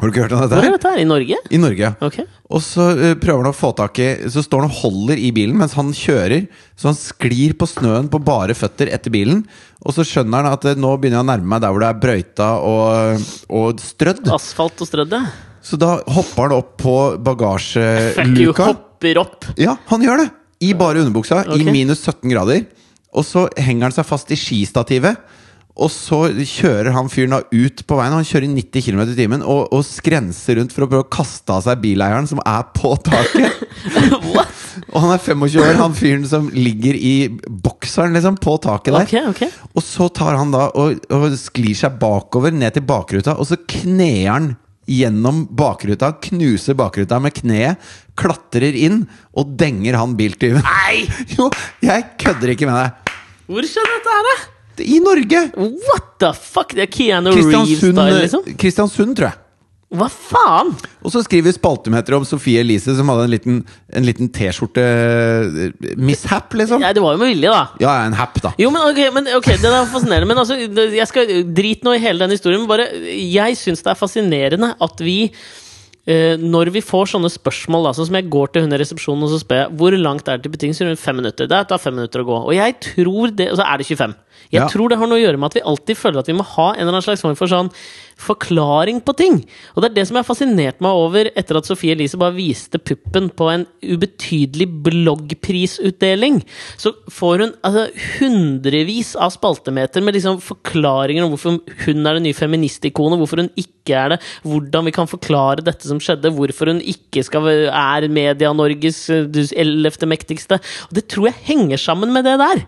Har du ikke hørt om dette?
Hvor er
her?
dette her? I Norge?
I Norge.
Ok.
Og så eh, prøver han å få tak i Så står han og holder i bilen mens han kjører. Så han sklir på snøen på bare føtter etter bilen. Og så skjønner han at eh, nå begynner jeg å nærme meg der hvor det er brøyta og, og strødd.
Asfalt og strødde?
Så da hopper han opp på Eh,
Fuck you,
bagasjeluka.
hopper opp!
Ja, han gjør det! I bare underbuksa,
Ok.
i minus 17 grader. Og så henger han seg fast i skistativet. Og så kjører han fyren da ut på veien. Han kjører i 90 km i timen og, og skrenser rundt for å prøve å kaste av seg bileieren som er på taket.
What?
Og han er 25 år, han fyren som ligger i bokseren liksom, på taket der.
Ok, ok.
Og så tar han da og, og sklir seg bakover ned til bakruta, og så kneer han gjennom bakruta, knuser bakruta med kneet, klatrer inn og denger han biltyven.
Nei!
Jo, jeg kødder ikke med deg.
Hvor skjedde dette her, da?
I Norge!
What the fuck? Det er Keanu
Kristiansund,
Reeves-style, liksom?
Kristiansund tror jeg.
Hva faen?
Og så skriver spaltemeter om Sofie Elise, som hadde en liten, en liten T-skjorte-mishap, liksom.
Nei, det var jo med vilje, da.
Ja, en hap, da.
Jo, men ok, men, ok, det er fascinerende. Men altså, det- jeg skal drit nå i hele den historien. Men bare, jeg syns det er fascinerende at vi eh, når vi får sånne spørsmål, da, sånn som jeg går til hun i resepsjonen og så spør jeg hvor langt er det til butikken, så sier hun fem minutter. Det tar fem minutter å gå. Og jeg tror det, og så er det 25. Jeg
Ja.
tror det har noe å gjøre med at vi alltid føler at vi må ha en eller annen slags form for sånn forklaring på ting. Og det er det som har fascinert meg over etter at Sophie Elise bare viste puppen på en ubetydelig bloggprisutdeling. Så får hun altså, hundrevis av spaltemeter med liksom forklaringer om hvorfor hun er det nye feministikonet, hvorfor hun ikke er det, hvordan vi kan forklare dette som skjedde, hvorfor hun ikke skal, eh, er Media-Norges ellevte mektigste. Og det tror jeg henger sammen med det der.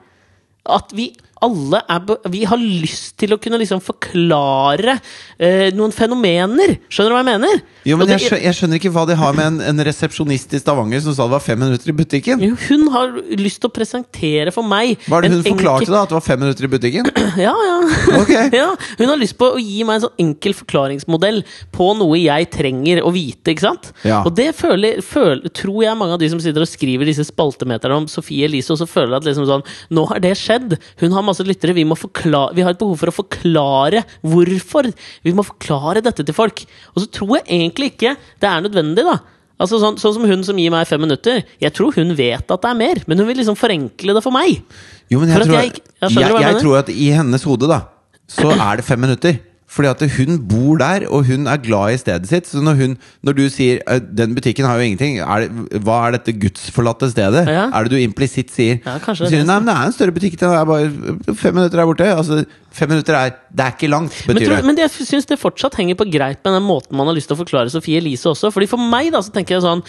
At vi alle er be Vi har lyst til å kunne liksom forklare eh, noen fenomener. Skjønner du hva jeg mener?
Jo, men
Og det-
jeg, skjø- jeg skjønner ikke hva de har med en, en resepsjonist i Stavanger som sa det var fem minutter i butikken.
jo, hun har lyst til å presentere for meg
Hva er det
en
hun forklarte, da? At det var fem minutter i butikken?
Ja, ja.
Ok.
ja. Hun har lyst på å gi meg en sånn enkel forklaringsmodell på noe jeg trenger å vite. ikke sant?
Ja.
Og det føler, føler, tror jeg mange av de som sitter og skriver disse spaltemeterne om Sofie Elise, også føler at liksom sånn, nå har det skjedd. Hun har masse lyttere. Vi, må forkla- vi har et behov for å forklare hvorfor. Vi må forklare dette til folk. Og så tror jeg egentlig ikke det er nødvendig. da. Altså sånn, sånn som hun som gir meg fem minutter. Jeg tror hun vet at det er mer, men hun vil liksom forenkle det for meg.
Jo, men jeg,
For at
tror,
jeg
jeg,
ikke- jeg skjønner hva
jeg,
jeg mener.
tror at i hennes hode, da, så er det fem minutter. Fordi at hun bor der, og hun er glad i stedet sitt. Så når, hun, når du sier «Eh, 'den butikken har jo ingenting', er det, hva er dette gudsforlatte stedet?
Ja.
Er det du implisitt sier?
Ja, kanskje
Så
det er det
sier hun, nei, men det er en større butikk, det er bare fem minutter der borte. Altså, fem minutter er Det er ikke langt,
Men,
betyr
tror,
det.
men jeg syns det fortsatt henger på greip med den måten man har lyst til å forklare Sofie Elise også. Fordi For meg da, så tenker jeg sånn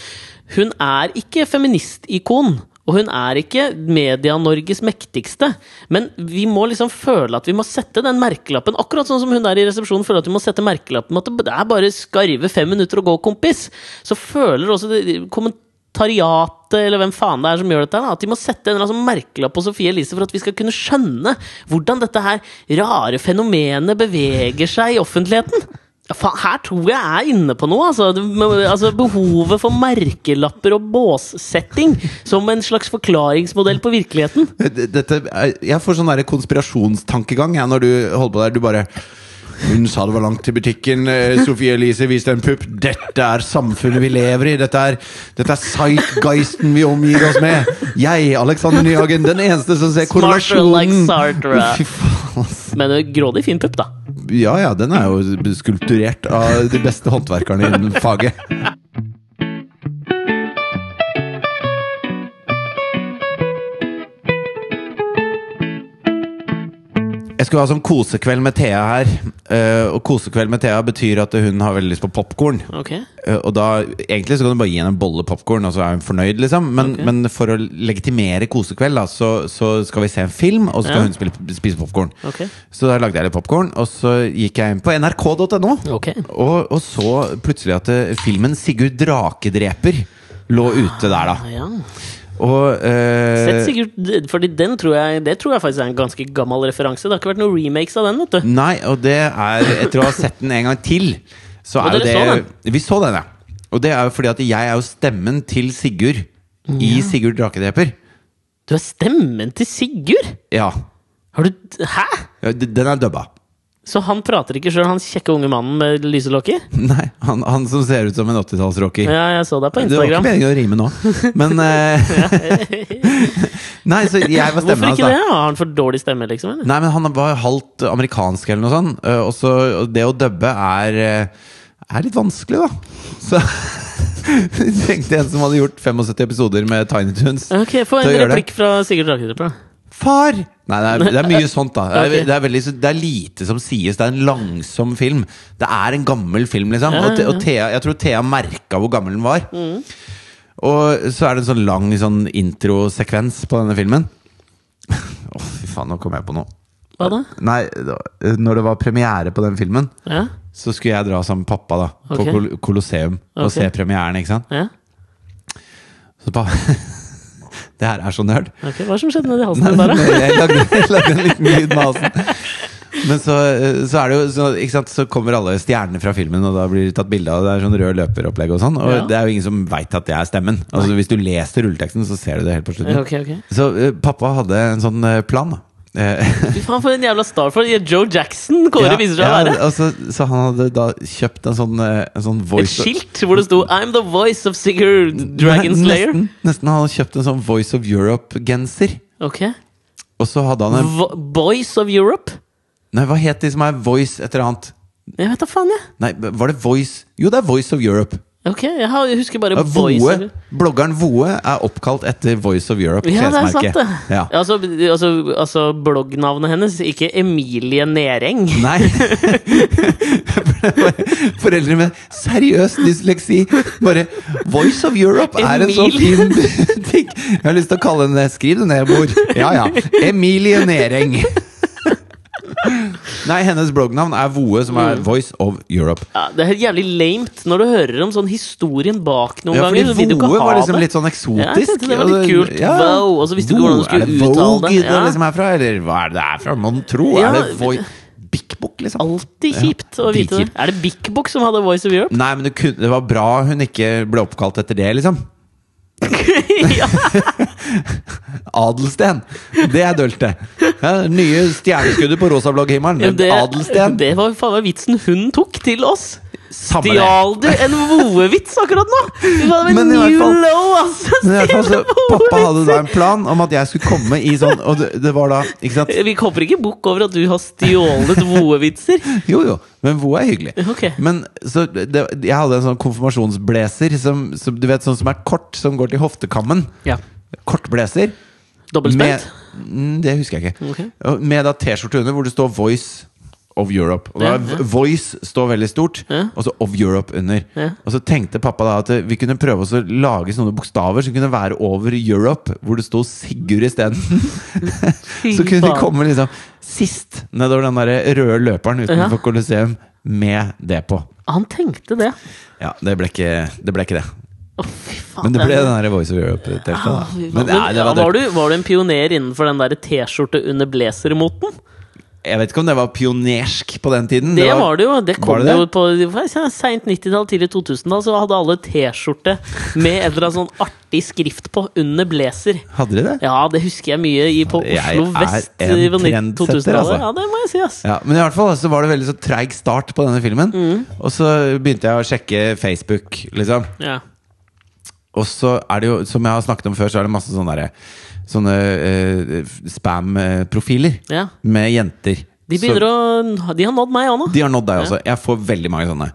Hun er ikke feministikon. Og hun er ikke Media-Norges mektigste. Men vi må liksom føle at vi må sette den merkelappen. Akkurat sånn som hun der i resepsjonen føler at vi må sette merkelappen med at det er bare skarve fem minutter å gå, kompis. Så føler også det, kommentariatet, eller hvem faen det er som gjør dette, her, da, at de må sette en eller annen sånn merkelapp på Sofie Elise for at vi skal kunne skjønne hvordan dette her rare fenomenet beveger seg i offentligheten. Ja, faen, Her tror jeg er inne på noe. Altså, Det- men, altså Behovet for merkelapper og båssetting som en slags forklaringsmodell på virkeligheten.
Dette, er- jeg får sånn der konspirasjonstankegang jeg, når du holder på der. Du bare Hun sa det var langt til butikken. eh, Sophie Elise viste en pupp. Dette er samfunnet vi lever i. Dette er, dette er zeitgeisten vi omgir oss med. Jeg, Alexander Nyhagen, den eneste som ser
Smarter like
korrelasjonen.
Sartre.
Fy faen, ass.
Men eh, grådig fin pupp, da.
Ja ja, den er jo skulpturert av de beste håndverkerne innen faget. Jeg skulle ha sånn kosekveld med Thea her. eh, og kosekveld med Thea betyr at hun har veldig lyst på popkorn.
Ok
Eh, og da, egentlig så kan du bare gi henne en bolle popkorn, og så er hun fornøyd, liksom. Men,
Ok.
men for å legitimere kosekveld, da, så, så skal vi se en film, og så skal
Ja.
hun spille, spise popkorn.
Ok.
Så da lagde jeg litt popkorn, og så gikk jeg inn på nrk.no.
Ok.
Og, og så plutselig at eh, filmen 'Sigurd Drakedreper' lå ute der, da.
Ah, Ja.
Og eh,
Sett Sigurd Fordi den tror jeg, det tror jeg faktisk er en ganske gammel referanse. Det har ikke vært noen remakes av den, vet du.
Nei, og det er Etter å ha sett den en gang til, så
Og
er jo det
dere så
Vi så den, ja. Og det er jo fordi at jeg er jo stemmen til Sigurd i 'Sigurd Drakedreper'.
Du er stemmen til Sigurd!
Ja.
Har du Hæ?!
Ja, d- Den er dubba.
Så han prater ikke sjøl, han kjekke unge mannen med lyse lokker?
Nei, han, han som ser ut som en 80-tallsrocker.
Ja, jeg så deg på
Det var ikke
Instagram.
meningen å rime nå, men eh, Nei, så jeg var
Hvorfor
stemmen hans,
ikke
da.
det? Har han for dårlig stemme, liksom? Eller?
Nei, men han var halvt amerikansk eller noe sånt. eh, Og så og det å dubbe er, eh, er litt vanskelig, da. Så jeg tenkte en som hadde gjort 75 episoder med Tiny Tunes.
Ok, Få
Så
en
gjør det.
replikk fra Sigurd Drakedrøper, da.
Far! Nei, det er, det er mye sånt, da. Det
Ok.
er, det, er veldig, så- det er lite som sies. Det er en langsom film. Det er en gammel film, liksom. Og, Te- og Thea, jeg tror Thea merka hvor gammel den var.
Mm.
Og så er det en sånn lang sånn introsekvens på denne filmen. Å, fy faen, nå kom jeg på noe.
Hva da?
Nei, da- når det var premiere på den filmen,
Ja?
så skulle jeg dra sammen med pappa da på
Ok.
Kol Colosseum og
Ok.
se premieren. ikke sant?
ja?
Så pappa Det her er så nerd.
Ok, Hva er det som skjedde nedi halsen
Nei,
din der, da?
jeg lagde, jeg lagde en liten lyd med halsen. Men så, eh, så er det jo så, ikke sant? så kommer alle stjernene fra filmen, og da blir det tatt bilde av det. er sånn rød løperopplegg og sånn. Og
Ja.
det er jo ingen som veit at det er stemmen. Altså Hvis du leser rulleteksten, så ser du det helt på
Ja,
slutten.
Ok, ok
Så eh, pappa hadde en sånn eh, plan. da. Eh,
Fy faen, for en jævla star for Joe Jackson! Kåre viser seg å være.
altså, så han hadde da kjøpt en sånn, eh, en sånn
Et
voice
skilt hvor det sto 'I'm the voice of Sigurd Dragon
Nei,
Slayer'.
Nesten, nesten han hadde kjøpt en sånn Voice of Europe-genser.
Ok
Og så hadde han en
Vo Boys of Europe?
Nei, hva het de som er Voice et eller annet?
Jeg vet da faen, jeg.
Nei, var det Voice Jo, det er Voice of Europe.
Ok, jeg, har, jeg husker bare
Ja,
Voice
Voe, bloggeren Voe er oppkalt etter Voice of Europe.
Ja, det er sant,
klesmerket.
det.
Ja.
Altså, altså, altså bloggnavnet hennes, ikke Emilie Nereng.
Nei. Foreldre med seriøs dysleksi. Bare 'Voice of Europe' er en så fin ting. Jeg har lyst til å kalle henne Skriv det ned, mor. Ja, ja. Emilie Nereng. Nei, hennes bloggnavn er Voe, som
Mm.
er 'Voice of Europe'.
Ja, det er helt jævlig lamet når du hører om sånn historien bak noen
Ja, fordi
ganger. så vil du ikke
Voe
ha
var liksom
det.
litt sånn
Ja, jeg
eksotisk.
tenkte det var litt kult. Voe, og så visste du ikke
Voe,
hvordan du skulle
er det
uttale det?
Vogue det
Ja.
liksom er fra, eller hva er det det er fra? Mon tro?
Ja,
er det Voice Bik Bok, liksom?
Alltid
Ja,
kjipt å vite det.
dritkjipt.
Er det Bik Bok som hadde Voice of Europe?
Nei, men det, kun, det var bra hun ikke ble oppkalt etter det, liksom. Mm.
ja.
Adelsten! Det er dølt, det. Ja, det nye stjerneskuddet på
Ja,
Rosablogg-himmelen.
det,
Adelsten.
det var faen meg vitsen hun tok til oss!
Samme det.
Stjal du en voevits akkurat nå?! Du hadde
Men
en
i hvert
new
fall-
low, altså!
Men i hvert fall
Stjal
så,
du
Pappa
voevits?
hadde da en plan om at jeg skulle komme i sånn Og det, det var da Ikke sant?
Vi hopper ikke bukk over at du har stjålet voevitser.
Jo, jo. Men Vo er hyggelig.
Ok.
Men så det, Jeg hadde en sånn konfirmasjonsblazer som, som Du vet, sånn som er kort, som går til hoftekammen.
Ja.
Kort blazer.
Dobbeltspent?
Med, Mm, det husker jeg ikke.
Ok.
Og Med da T-skjorte under hvor det står 'Voice of Europe'. Og
Ja,
da,
ja.
Voice står veldig stort,
Ja.
og så 'Of Europe' under.
Ja.
Og så tenkte pappa da at vi kunne prøve oss å lage sånne bokstaver som kunne være over 'Europe', hvor det sto Sigurd isteden. så kunne de
faen.
komme liksom sist nedover den der røde løperen utenfor Colosseum med det på.
Han tenkte det.
Ja, det ble ikke det. Ble ikke det.
Å, fy faen.
Men det ble
er-
den der Voice of Europe-telta.
Å, Ah, fy faen. Men, ja, var, du, var du en pioner innenfor den der T-skjorte under blazer-moten?
Jeg vet ikke om det var pionersk på den tiden.
Det var det jo. Det kom
var det
jo
det?
på seint 90-tall, tidlig 2000-tall, så hadde alle T-skjorte med et eller annet sånn artig skrift på under blazer.
Hadde de det?
Ja, det husker jeg mye i, på
Jeg
Oslo
er
vest
en
i på
trendsetter,
2000-tallet.
altså.
Ja, det må jeg si, ass.
Ja, men i hvert fall så var det veldig så treig start på denne filmen.
Mm.
Og så begynte jeg å sjekke Facebook, liksom.
Ja.
Og så er det jo, som jeg har snakket om før, så er det masse sånne, derre- sånne eh, spam-profiler
ja.
med jenter.
De begynner å De har nådd meg òg nå.
så, de har nådd deg også. Jeg får veldig mange sånne.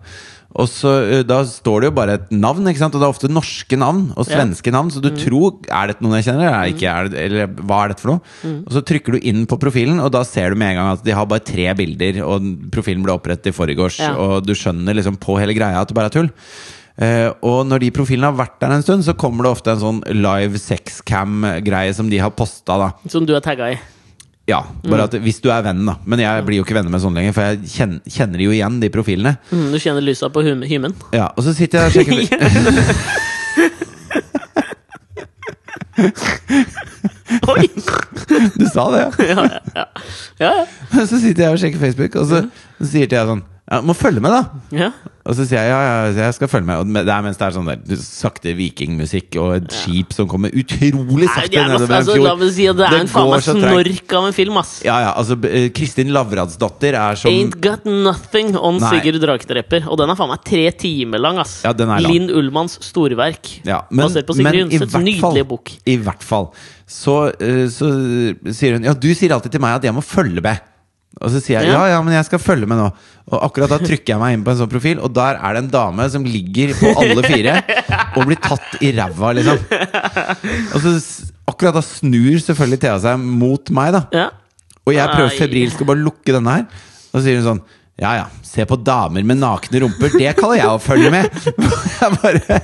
Og så eh, Da står det jo bare et navn, ikke sant? og det er ofte norske navn
Ja.
og
Mm.
svenske navn. Så du tror Er dette noen jeg kjenner, eller, er det ikke, er det, eller hva er dette for noe?
Mm.
Og så trykker du inn på profilen, og da ser du med en gang at de har bare tre bilder, og profilen ble opprettet i forgårs,
Ja.
og du skjønner liksom på hele greia at det bare er tull. Eh, og når de profilene har vært der en stund, så kommer det ofte en sånn live sexcam-greie som de har posta, da.
Som du er tagga i.
Ja,
Mm.
bare at hvis du er venn, da. Men jeg blir jo ikke venner med sånne lenger, for jeg kjen- kjenner jo igjen de profilene.
Mm, du kjenner lysa på hum- hymen.
Ja, og så sitter jeg og sjekker bil-
Oi!
Du sa det, ja.
Ja, ja, ja. ja, ja.
Så sitter jeg og sjekker Facebook, og så, så sier Thea sånn ja, 'Må følge med, da'.
ja.
Og så sier jeg ja, ja, jeg skal følge med. Og det er mens det er sånn der sakte vikingmusikk og et skip som kommer utrolig
Nei,
sakte
det er, noe-
nedover en
altså, la
fjord.
meg si at det er
Det
en faen
går
meg
så tregt.
snork av en film, ass.
Ja, ja, altså eh, Kristin Lavradsdatter er som
Ain't Got Nothing on
Nei.
Sigurd Dragedreper. Og den er faen meg tre timer lang, ass.
Ja, den er lang.
Linn Ullmanns storverk.
Ja, men,
Basert på
men
Sigrid
i
Undsets
hvert fall-
nydelige bok.
I hvert fall. Så, eh, så sier hun Ja, du sier alltid til meg at jeg må følge med. Og så sier jeg ja,
Ja.
ja, men jeg skal følge med nå. Og akkurat da trykker jeg meg inn på en sånn profil, og der er det en dame som ligger på alle fire og blir tatt i ræva, liksom. Og så s- akkurat da snur selvfølgelig Thea seg mot meg, da.
Ja.
Og jeg prøver
Ai.
febrilsk å bare lukke denne her. Og så sier hun sånn ja ja, se på damer med nakne rumper, det kaller jeg å følge med! Jeg bare,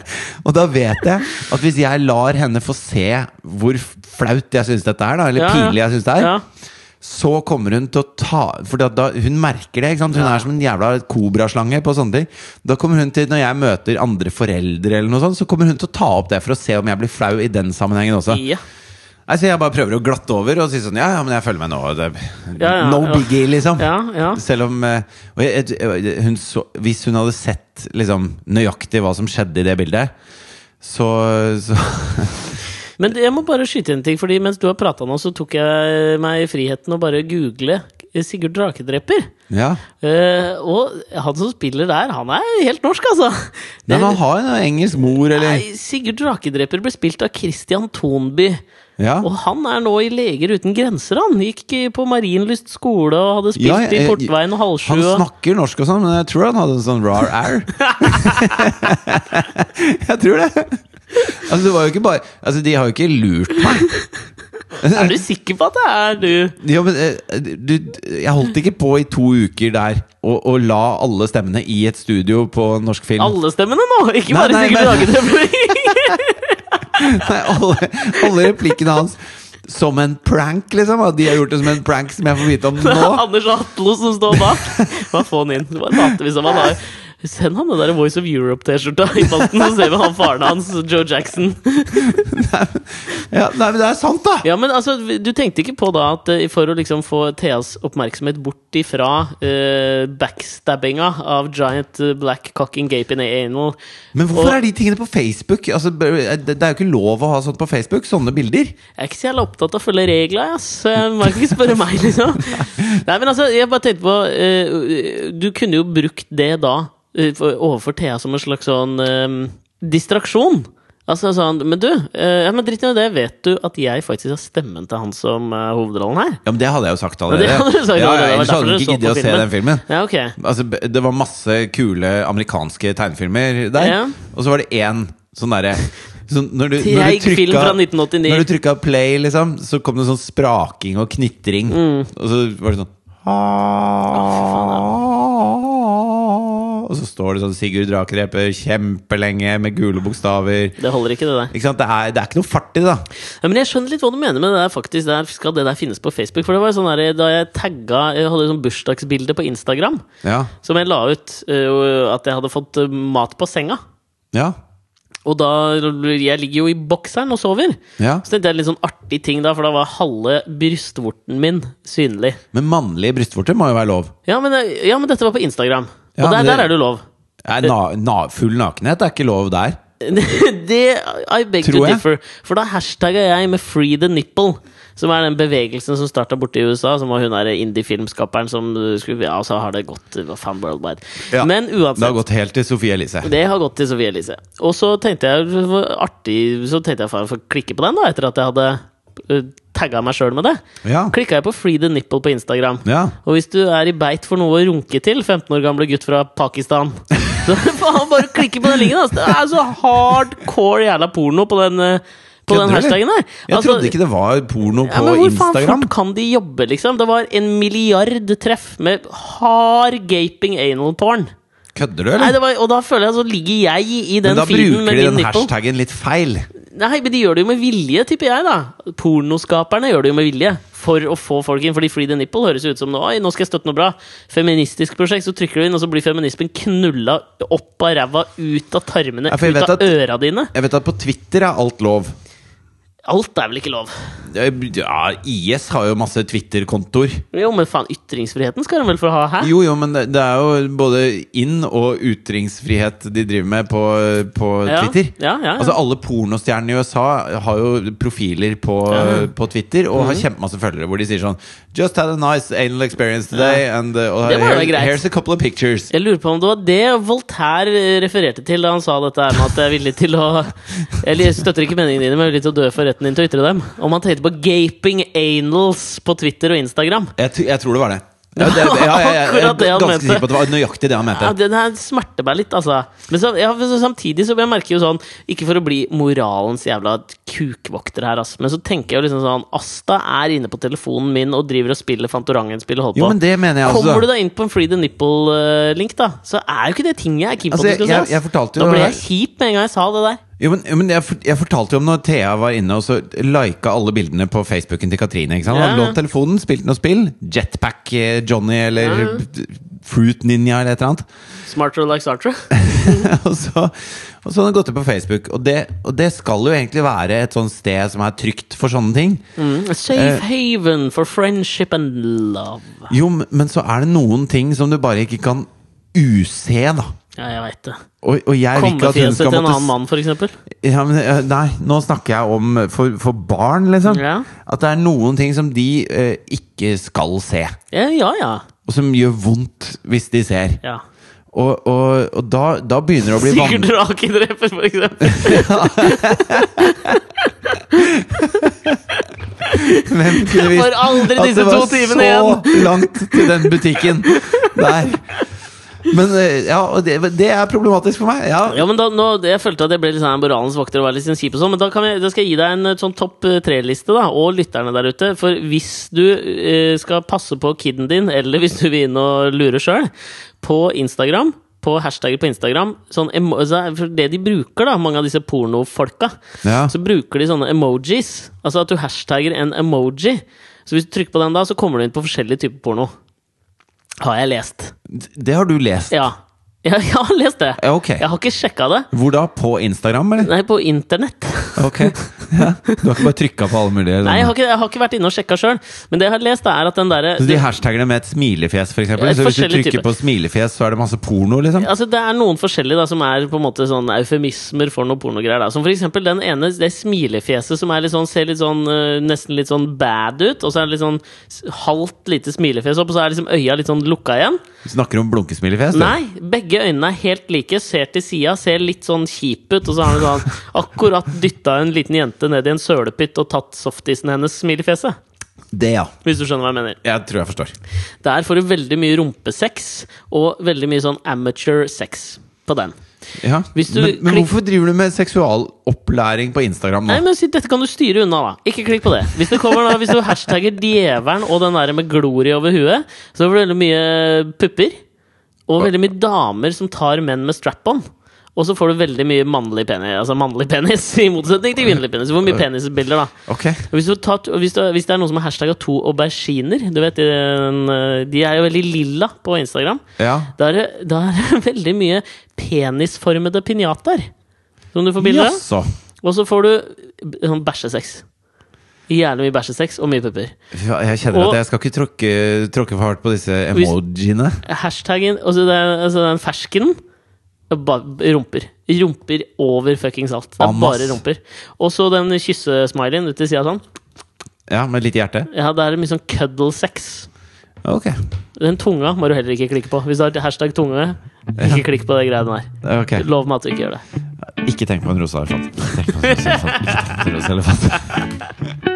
og da vet jeg at hvis jeg lar henne få se hvor flaut jeg syns dette er, da, eller
Ja, ja.
pinlig jeg syns det er,
Ja.
så kommer hun til å ta For da, da, hun merker det. ikke sant? Hun er som en jævla kobraslange på sånne ting. Da kommer hun til, Når jeg møter andre foreldre, eller noe sånt, så kommer hun til å ta opp det for å se om jeg blir flau i den sammenhengen også.
Ja.
Nei, så jeg bare prøver å glatte over og si sånn Ja, ja, men jeg følger med nå. og Det,
Ja, ja,
no
ja.
biggie, liksom.
Ja, ja.
Selv om eh, og jeg, jeg- hun så, Hvis hun hadde sett liksom, nøyaktig hva som skjedde i det bildet, så, så
Men jeg må bare skyte inn en ting, Fordi mens du har prata nå, så tok jeg meg friheten å bare google eh, Sigurd Drakedreper.
Ja.
Eh, og han som spiller der, han er helt norsk, altså!
Nei, men han har en engelsk mor, eller
Nei, Sigurd Drakedreper ble spilt av Christian Thonby.
Ja.
Og han er nå i Leger uten grenser, han. Gikk på Marienlyst skole og hadde spilt
Ja, jeg-
i Portveien og Halvsju.
Han
og-
snakker norsk og sånn, men jeg tror han hadde en sånn rar r. jeg tror det. Altså, det var jo ikke bare Altså, de har jo ikke lurt meg.
Er du sikker på at det er du?
Ja, men eh, du, jeg holdt ikke på i to uker der og, og la alle stemmene i et studio på en norsk film.
Alle stemmene nå, ikke
Nei,
bare
nei,
Sigurd
men-
Drakedreper.
Nei, alle, alle replikkene hans som en prank, liksom. At de har gjort det som en prank som jeg får vite om
Det
nå.
er Anders Hatlo som står bak. Bare få han inn. Så bare later vi som han har Send han den der Voice of Europe-T-skjorta i posten, så ser vi han faren hans, Joe Jackson.
Ja, nei, men det er sant, da!
Ja, men altså, Du tenkte ikke på da at eh, for å liksom få Theas oppmerksomhet bort ifra eh, backstabbinga av giant eh, black cocking gape in the anal
Men hvorfor
Og-
er de tingene på Facebook? Altså, det det er jo ikke lov å ha sånt på Facebook. Sånne bilder.
Jeg er ikke så jævla opptatt av å følge regler, ass. Så jeg må ikke spørre meg, liksom. Nei, men altså, jeg bare tenkte på eh, Du kunne jo brukt det da eh, for- overfor Thea som en slags sånn eh, distraksjon. Altså sånn Men du, eh, ja, men drit i det. Vet du at jeg faktisk har stemmen til han som er hovedrollen her?
Ja, men det hadde jeg jo sagt
Ja,
allerede.
det hadde du sagt
ja,
allerede, det var
ellers hadde
derfor
du
du
ikke
så
giddet
på
å se den filmen.
Ja, ok.
Altså, b- det var masse kule amerikanske tegnefilmer der,
Ja.
og så var det én sånn derre sånn, når, du- når,
Treig
du
film fra
trykka-
1989.
når du trykka play, liksom, så kom det sånn spraking og knitring.
Mm.
Og så var det sånn Og så står det sånn Sigurd Drakereper kjempelenge med gule bokstaver.
Det holder ikke, det der.
Ikke sant? Det er, det er ikke noe fart i det, da.
Ja, men jeg skjønner litt hva du mener med det der. faktisk der, Skal det der finnes på Facebook? For det var jo sånn der, da jeg tagga Jeg hadde sånn bursdagsbilde på Instagram
Ja.
som jeg la ut øh, at jeg hadde fått øh, mat på senga.
Ja.
Og da Jeg ligger jo i bokseren og sover.
ja.
Så tenkte jeg litt sånn artig ting da, for da var halve brystvorten min synlig.
Men mannlige brystvorter må jo være lov.
Ja, men, øh, ja, men dette var på Instagram. Og
Ja,
der,
men det-
der er det jo lov.
Nei, Na, na, full nakenhet er ikke lov der.
det I beg
Tror
to
jeg.
differ. For da hashtagga jeg med Free the Nipple. Som er den bevegelsen som starta borte i USA. Som var hun der indie-filmskaperen som uh, skulle Ja, så har det gått uh, hva faen worldwide.
Ja,
Men
Det har
uansett.
gått helt til Sofie Elise.
Det har gått til Sofie Elise. Og så tenkte jeg det var artig Så tenkte jeg faen, jeg får klikke på den, da, etter at jeg hadde uh, tagga meg sjøl med det.
Ja.
Klikka jeg på Free the Nipple på Instagram.
ja.
Og hvis du er i beit for noe å runke til, 15 år gamle gutt fra Pakistan Så faen, bare klikke på den linken! Altså. Det er så hardcore jævla porno på den, eh, på
Kødder
den
du?
hashtaggen der.
Jeg trodde ikke det var porno
Altså, ja,
på
men hvor faen
Instagram.
fort kan de jobbe, liksom? Det var en milliard treff med hard gaping anal porn.
Kødder du,
Nei,
eller?
det var, og da føler jeg så ligger jeg i
Men
den
da
feeden
bruker
med
de
min
den
nipple.
hashtaggen litt feil.
Nei, men de gjør det jo med vilje, tipper jeg, da. Pornoskaperne gjør det jo med vilje. For å få folk inn. Fordi Free the Nipple høres jo ut som noe, Oi, nå skal jeg støtte noe bra. Feministisk prosjekt, så trykker du inn, og så blir feminismen knulla opp av ræva, ut av tarmene,
Ja, for
ut
jeg
av
vet at-
øra dine.
Jeg vet at på Twitter er alt lov.
Alt er vel ikke lov?
Ja, IS har jo masse Twitter-kontoer.
Jo, men faen, ytringsfriheten skal de vel få ha her?
Jo, jo, men det det er jo både inn- og utringsfrihet de driver med på, på
Ja,
Twitter.
ja, ja, ja.
Altså Alle pornostjernene i USA har jo profiler på, på Twitter og
Mhm.
har kjempemasse følgere hvor de sier sånn Just had a nice anal experience today and, uh, og
Det var jo
here-
greit.
Here's a couple of pictures.
Jeg lurer på om det var det Voltaire eh, refererte til da han sa dette her med at jeg er villig til å Jeg støtter ikke meningene dine, men jeg er villig til å dø for retten din til å ytre dem. Om han tenkte på gaping anals på Twitter og Instagram.
Jeg, tr- jeg tror det var det. Ja, det, ja, ja, ja, jeg er
Akkurat det han
ganske
mente.
sikker på at det var nøyaktig det han mente.
Ja, den her smerter meg litt, altså. Men så, ja, men så samtidig så jeg merker jo sånn Ikke for å bli moralens jævla kukvokter her, altså, men så tenker jeg jo liksom sånn Asta er inne på telefonen min og driver og spiller Fantorangen-spill og holder på.
Jo, men det mener jeg altså.
Kommer du
også.
deg inn på en Free the Nipple-link, da, så er jo ikke det ting jeg er keen på.
Altså,
at du skal
jeg-
se,
jeg
ass.
fortalte jo-
Nå ble jeg kjip med en gang jeg sa det der.
Jo, men, jo, men jeg, fort- jeg fortalte jo om når Thea var inne og så lika alle bildene på Facebooken til Katrine. Ikke sant? Han
Ja.
lånt telefonen, spilte noe spill. Jetpack eh, Johnny eller Fruit Ninja eller et eller annet.
Smarter like Sartre.
og, så, og så hadde han gått inn på Facebook. Og det, og det skal jo egentlig være et sånt sted som er trygt for sånne ting.
Mm,
Eh.
safe haven for friendship and love.
Jo, men så er det noen ting som du bare ikke kan use, da.
Ja, jeg veit det.
Og, og jeg vil ikke at hun
Kommefjeset
skal
til en
måtte
annen mannn, for eksempel.
ja, men, eh, Nei, nå snakker jeg om eh, for, for barn, liksom.
Ja.
At det er noen ting som de eh, ikke skal se.
Ja, ja. ja.
Og som gjør vondt hvis de ser.
ja.
Og, og, og da, da begynner det å bli
Sigurd
vanskelig.
Rakedreper, for eksempel.
Hvem kunne
For
visst
aldri
at det
disse to
var
timene igjen!
så langt til den butikken der? Men eh, ja, og det, det er problematisk for meg. Ja,
Ja, men da, nå, jeg følte at jeg ble litt sånn moralens vokter og var litt sånn kjip og sånn, men da, kan jeg, da skal jeg gi deg en eh, sånn topp eh, tre-liste, da, og lytterne der ute. For hvis du eh, skal passe på kiden din, eller hvis du vil inn og lure sjøl, på Instagram på hashtagger på Instagram sånn emo så er- for Det de bruker, da, mange av disse pornofolka,
Ja.
så bruker de sånne emojis. Altså at du hashtagger en emoji. Så hvis du trykker på den da, så kommer du inn på forskjellige typer porno. Har jeg lest.
det har du lest.
Ja. Jeg, jeg har lest det.
Ja, ok.
Jeg har ikke sjekka det.
Hvor da? På Instagram, eller?
Nei, på internett.
Ok. Ja. Du har ikke bare trykka på alle
Nei,
mulige? sånne-
jeg har ikke, jeg har ikke vært inne og sjekka sjøl. Men det jeg har lest, er at den derre
Så de hashtagene med et smilefjes, for eksempel
Ja, et
Så hvis du
forskjellig
trykker
type.
på smilefjes, så er det masse porno, liksom?
Altså, det er noen forskjellige da, som er på en måte sånn eufemismer for noe pornogreier. da. Som for eksempel den ene, det smilefjeset som er litt sånn, ser litt sånn, øh, nesten litt sånn bad ut. Og så er det litt sånn s- halvt lite smilefjes opp, og så er liksom øya litt sånn lukka igjen.
Du snakker om blunkesmilefjes? du.
Nei, begge øynene er helt like. Ser til sida, ser litt sånn kjip ut. Og så har han sånn akkurat dytta en liten jente ned i en sølepytt og tatt softisen hennes smilefjeset.
Det, ja.
Hvis du skjønner hva jeg mener.
Jeg tror jeg forstår.
Der får du veldig mye rumpesex og veldig mye sånn amateur sex på den.
Ja.
Hvis du
men men
klikk-
hvorfor driver du med seksualopplæring på Instagram nå?
Nei, men si, Dette kan du styre unna, da. Ikke klikk på det. Hvis, det kommer, da, hvis du hashtagger 'djevelen' og den der med glorie over huet, så får du veldig mye pupper. Og veldig mye damer som tar menn med strap-on. Og så får du veldig mye mannlig penis, altså mannlig penis i motsetning til kvinnelig penis. Hvor mye penisbilder, da.
Ok.
Og Hvis, du tar, og hvis, du, hvis det er noen som har hashtagga to auberginer du vet, den, eh, De er jo veldig lilla på Instagram.
Ja.
Da er det- da er det veldig mye penisformede pinjataer som du får bilder av.
Jaså.
Og så får du b- sånn bæsjesex. Jævlig mye bæsjesex og mye pupper.
Ja, Jeg kjenner
Og-
at jeg skal ikke tråkke, tråkke for hardt på disse emojiene.
Hashtaggen Og så den, altså den ferskenen. ba- Rumper. Rumper over fuckings alt. Det er
Amas.
bare rumper. Og så den kyssesmileyen ut til sida sånn.
Ja, med litt hjerte.
Ja, det er det mye sånn cuddle-sex.
Ok.
Den tunga må du heller ikke klikke på. Hvis du har hashtag tunge, ikke klikk på det greiene der.
ok
Lov meg at du ikke gjør det.
Ikke tenk på en rosa elefant. Ikke tenk på en rosa elefant. Ikke tenk på en rosa elefant.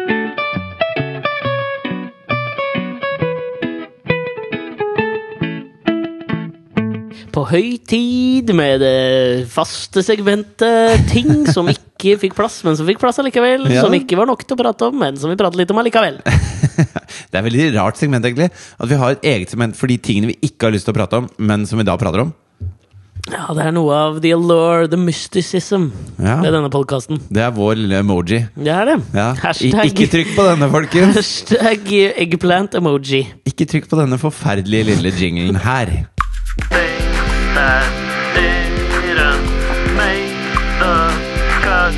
På høy tid med det faste segmentet ting som ikke fikk plass, men som fikk plass allikevel.
Ja.
Som ikke var nok til å prate om, men som vi pratet litt om allikevel.
Det er et veldig rart segment, egentlig. At vi har et eget segment for de tingene vi ikke har lyst til å prate om, men som vi da prater om.
Ja, det er noe av the allure, the mysticism,
Ja.
ved denne podkasten.
Det er vår lille emoji.
Det er det.
Ja. I,
Hashtag,
ikke trykk på denne, folkens!
hashtag eggplant emoji.
Ikke trykk på denne forferdelige lille jinglen her.
that didn't make the cut.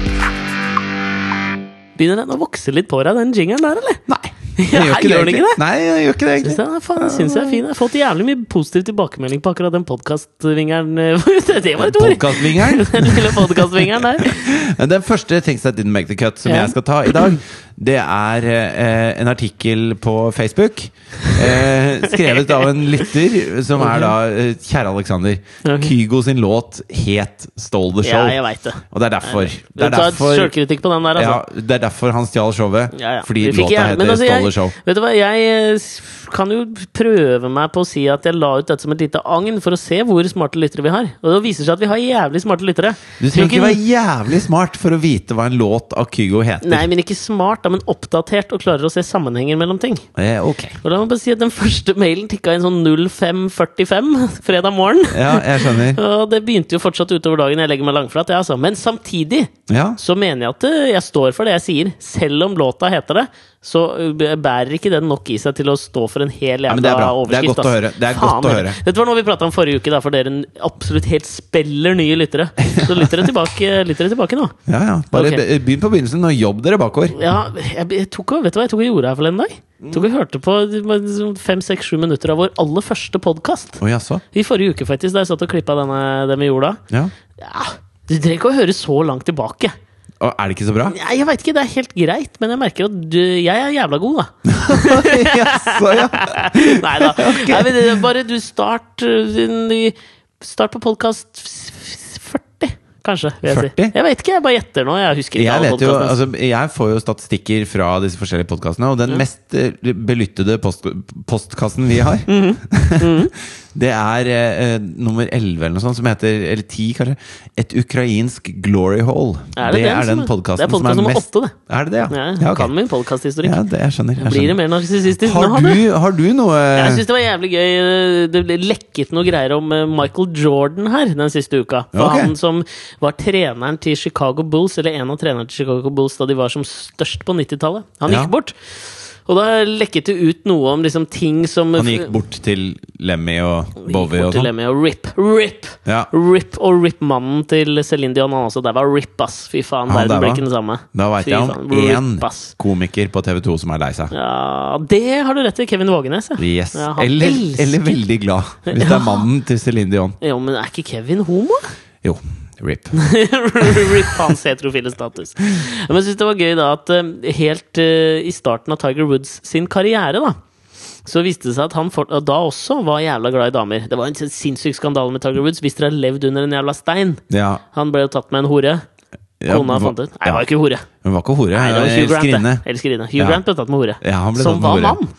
Begynner den å vokse litt på deg, den jingeren der, eller?
Nei,
Ja, gjør den
egentlig.
ikke det?
Nei, jeg gjør ikke det
Syns
egentlig.
jeg, faen, jeg synes jeg er fin. Jeg har fått jævlig mye positiv tilbakemelding på akkurat den podkastvingeren. Det var et ord!
Podcastvingeren.
Den lille podkastvingeren der.
Den første Things That Didn't Make The Cut som
Ja.
jeg skal ta i dag, det er eh, en artikkel på Facebook eh, skrevet av en lytter som er da eh, Kjære Alexander.
Ok.
Kygo sin låt het 'Stole the
Ja,
Show'.
jeg veit det.
Og det er derfor.
Du
Det er
tar
derfor,
sjølkritikk på den der, altså.
ja, det er derfor han stjal showet.
Ja, ja.
Fordi
Vi fikk
låta
jævlig- men
heter
altså,
'Stole
jeg-
the Show'.
Vet du hva, jeg eh, s- kan jo prøve meg på å si at jeg la ut dette som et lite agn for å se hvor smarte lyttere vi har. Og det viser seg at vi har jævlig smarte lyttere.
Du trenger ikke
Hvilken-
være jævlig smart for å vite hva en låt av Kygo heter.
Nei, men ikke smart, da, men oppdatert og klarer å se sammenhenger mellom ting.
Eh, ok.
Og la meg bare si at Den første mailen tikka inn sånn 05.45 fredag morgen.
Ja, jeg skjønner.
Og det begynte jo fortsatt utover dagen. Jeg legger meg langflat, jeg, altså. Men samtidig
Ja.
så mener jeg at eh, jeg står for det jeg sier. Selv om låta heter det, så eh, bærer ikke den nok i seg til å stå for en hel
men
jævla
det er bra. Det er
overskrift.
godt å
ass.
høre. Det er godt å
heller.
høre.
Dette var noe vi prata om forrige uke, da, for dere n- absolutt helt speller nye lyttere. Så lytter dere tilbake, lytter dere tilbake nå.
ja, ja. Bare
Ok.
be- begynn på begynnelsen og jobb dere bakover.
Ja, jeg, jeg tok, og- vet du hva jeg tok og gjorde her forleden dag?
Mm.
Tok og hørte på sånn fem, seks, sju minutter av vår aller første podkast.
Å jaså?
I forrige uke, faktisk, da jeg satt og klippa denne, den vi gjorde da.
Ja.
Ja, du trenger ikke å høre så langt tilbake.
Og er det ikke så bra?
Nei, Jeg veit ikke, det er helt greit, men jeg merker at du, jeg er jævla god, da.
Jaså, ja.
Nei da. Nei, men det er bare du start øh, en ny- Start på podkast 40, kanskje. Vil jeg 40?
40?
Si. Jeg vet ikke, jeg bare gjetter nå. Jeg husker ikke
Jeg,
alle
vet jo,
podcastene.
altså, jeg får jo statistikker fra disse forskjellige podkastene, og den mest eh, belyttede post postkassen vi har,
Mhm.
det er eh, nummer 11 eller noe sånt, som heter, eller 10 kanskje, Et ukrainsk glory hall.
Er det den
er
som er-
den
det
podkasten
er podcast nummer åtte, det.
Er det det, ja?
Ja, jeg
Ja, ok.
kan min podkasthistorikk.
ja det, jeg skjønner. Jeg
Blir det
skjønner.
mer narsissistisk? nå,
Har,
Hanne?
du, har du noe
Jeg syns det var jævlig gøy. eh, Det ble lekket noe greier om eh, Michael Jordan her den siste uka. For
Ok.
Han som var treneren til Chicago Bulls, eller en av trenerne til Chicago Bulls da de var som størst på 90-tallet. Han
Ja.
gikk bort. Og da lekket det ut noe om liksom ting som
Han gikk bort til Lemmy og Bowie
Bort
og
til
sånn?
Lemmy og Rip. Rip!
Ja.
Rip og Rip-mannen til Céline Dion, han også. Der var Rip, ass. Fy faen,
Han
verden
der
ble
var-
ikke den samme.
Da veit
Fy
jeg om
faen,
én
Rip, ass.
komiker på TV2 som er lei seg.
Ja, det har du rett i. Kevin Vågenes. ja.
Yes.
Ja, han
eller,
elsker-
eller veldig glad, hvis det er mannen til Céline Dion.
Ja, men er ikke Kevin homo?
Jo, rip.
Rip hans heterofile status. Men jeg synes det var gøy da at eh, helt eh, i starten av Tiger Woods sin karriere, da så viste det seg at han fort, og da også var jævla glad i damer. Det var en sinnssyk skandale med Tiger Woods. Hvis dere har levd under en jævla stein
Ja,
Han ble jo tatt med en hore.
ja,
Kona fant ut. Nei, det var ikke hore.
Hun var ikke hore. eh,
Nei, det var Hugh Grant.
elskerinne.
det. Elskerinne. Hugh
Ja.
Grant ble tatt med hore.
Ja, han ble
Som
tatt med
var
hore.
mann.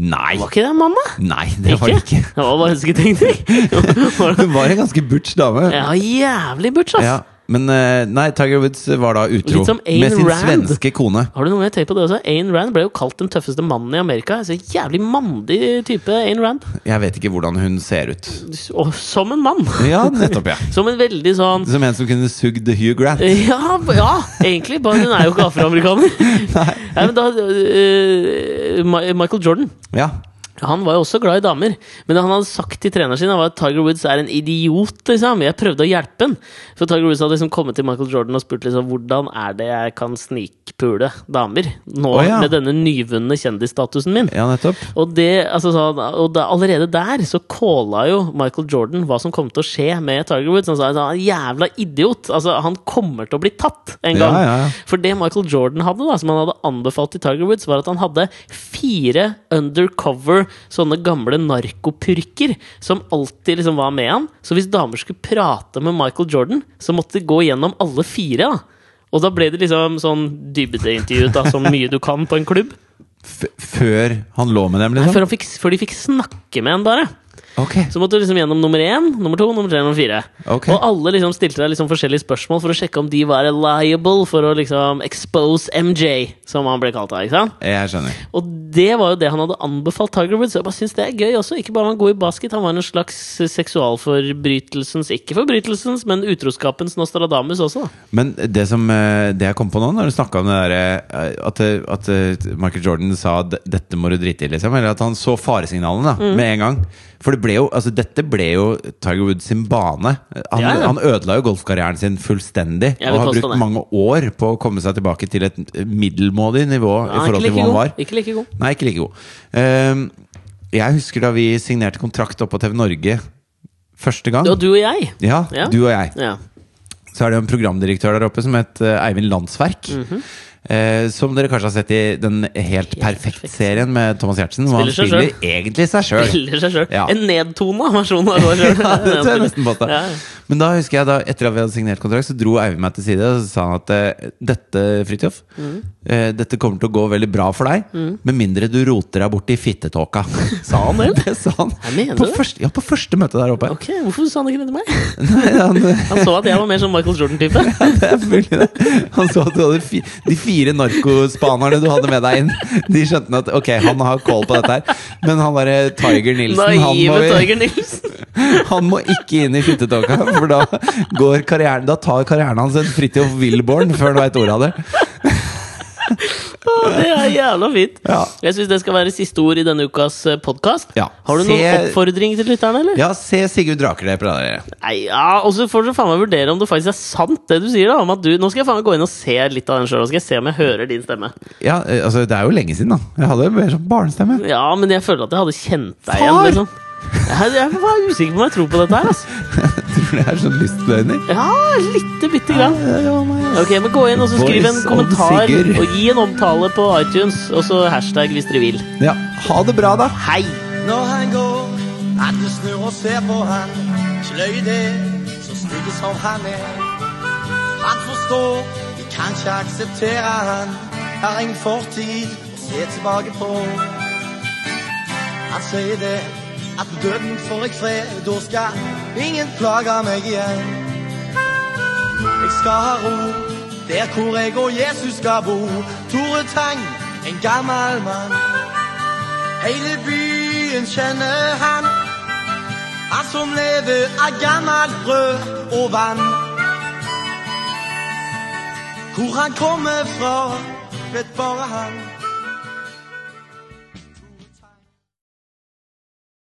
Nei,
Var ikke det en mann, da?
nei, det var det ikke.
Det var bare ønsketenkning.
Hun var en ganske butch dame.
ja, jævlig butch, ass.
Ja, men eh, nei, Tiger Woods var da utro
Litt som Ayn
med sin
Rand.
svenske kone.
Har du noe mer tenkt på det også? Ayn Rand ble jo kalt den tøffeste mannen i Amerika. Så jævlig mandig type, Ayn Rand.
Jeg vet ikke hvordan hun ser ut.
Og som en mann!
Ja, nettopp, ja.
Som en veldig sånn
Som en som kunne sugd Hugh Grant.
ja, ja, egentlig. Bare hun er jo ikke afroamerikaner. Nei. men da, øh, Ma- Michael Jordan
Ja.
Han var jo også glad i damer, men han hadde sagt til treneren sin han var at Tiger Woods er en idiot. liksom, Jeg prøvde å hjelpe han. For Tiger Woods hadde liksom kommet til Michael Jordan og spurt liksom, hvordan er det jeg kan snikpule damer nå
Å, ja.
med denne nyvunne kjendisstatusen min.
ja, nettopp.
Og, det, altså, så, han- og da, allerede der så calla jo Michael Jordan hva som kom til å skje med Tiger Woods. Han sa at han er en jævla idiot. Altså, han kommer til å bli tatt en
Ja,
gang.
ja, ja.
For det Michael Jordan hadde, da, som han hadde anbefalt til Tiger Woods, var at han hadde fire undercover sånne gamle narkopurker som alltid liksom var med han. Så hvis damer skulle prate med Michael Jordan, så måtte de gå gjennom alle fire. da. Og da ble det liksom sånn dybdeintervju, da, så mye du kan på en klubb.
F før han lå med dem,
Nei,
liksom?
før, han fikk, før de fikk snakke med en, bare.
Ok.
Så måtte du liksom gjennom nummer én, nummer to, nummer tre, nummer fire.
Ok.
Og alle liksom stilte deg liksom forskjellige spørsmål for å sjekke om de var liable for å liksom expose MJ, som han ble kalt da. ikke sant?
Jeg skjønner.
Og det var jo det han hadde anbefalt Tiger Woods. Jeg bare synes det er gøy også. Ikke bare var han god i basket, han var en slags seksualforbrytelsens, ikke forbrytelsens, men utroskapens Nostradamus også, da.
Men det som eh, Det jeg kom på nå, når du snakka om det derre eh, at, eh, at eh, Michael Jordan sa "D- 'dette må du drite i', liksom. Eller at han så faresignalene da,
Mm.
med en gang. For det ble jo, altså, dette ble jo Tiger Woods sin bane. Han,
Ja, ja.
han ødela jo golfkarrieren sin fullstendig.
Jeg vil
Og har
påstå
brukt
det.
mange år på å komme seg tilbake til et middelmådig nivå i
Han er
forhold
ikke
til hvor
like
han var.
god. Ikke like god.
Nei, ikke like god. Ehm, jeg husker da vi signerte kontrakt oppe på TV Norge første gang.
Og du og jeg.
Ja,
Ja.
du og jeg
Ja.
så er det jo en programdirektør der oppe som het eh, Eivind Landsverk.
Mhm.
eh, som dere kanskje har sett i den helt perfekt-serien med Thomas Gjertsen. Hvor han
Spiller seg
spiller egentlig seg sjøl.
Eller seg sjøl.
Ja.
En nedtona versjon av seg sjøl.
Ja, det tør jeg nesten påstå.
Ja, ja.
Men da husker jeg da, etter at vi hadde signert kontrakt, så dro Eivind meg til side og så sa han at eh, dette, Fridtjof,
Mhm.
eh, dette kommer til å gå veldig bra for deg, med mindre du roter deg bort i fittetåka. Sa han det? Det sa han.
Jeg mener
på,
det.
første, ja, på første møte der oppe.
Ok, Hvorfor sa han ikke det til meg?
Nei, han, eh,
Han så at jeg var mer som Michael Jordan-type.
Det er mulig det. Han så at du hadde fi de fire narkospanerne du hadde med deg inn. De skjønte at ok, han har call på dette her. Men han derre Tiger Nilsen, han må,
Naive Tiger Nilsen.
han må ikke inn i flyttetåka. For da, går karrieren, da tar karrieren hans en Fridtjof Wilborn før han veit ordet av det.
Det er jævla fint.
Ja.
Jeg syns det skal være siste ord i denne ukas podkast.
Ja.
Har du noen
Se-
oppfordring til lytterne, eller?
Ja, se Sigurd Draker der på dere.
Nei, ja, Og så får dere faen meg vurdere om det faktisk er sant, det du sier. da om at du, Nå skal jeg faen meg gå inn og se litt av den sjøl, og skal jeg se om jeg hører din stemme.
Ja, eh, altså, det er jo lenge siden, da. Jeg hadde mer sånn barnestemme.
Ja, men jeg føler at jeg hadde kjent deg igjen.
Far!
Liksom. Jeg, jeg var usikker på om jeg tror på dette her. Altså.
Tror det er sånn lystløgner.
Ja, lite bitte grann.
Ja, det var meg, ass.
Ok, men Gå inn og så skriv en
Voice of
kommentar
Sigurd.
og gi en omtale på iTunes. Og så hashtag hvis dere vil.
Ja, ha det bra, da.
Hei!
Når han går, alle snur og ser på han. Ikke løy det, så stygge som han er. Han forstår, vi kan ikke akseptere han. Har ingen fortid å se tilbake på. Han sier det, at med døden får jeg fred, da skal ingen plage meg igjen. Jeg skal ha ro, der hvor jeg og Jesus skal bo. Tore Tang, en gammel mann. Hele byen kjenner han Han som lever av gammelt brød og vann Hvor han kommer fra, vet bare han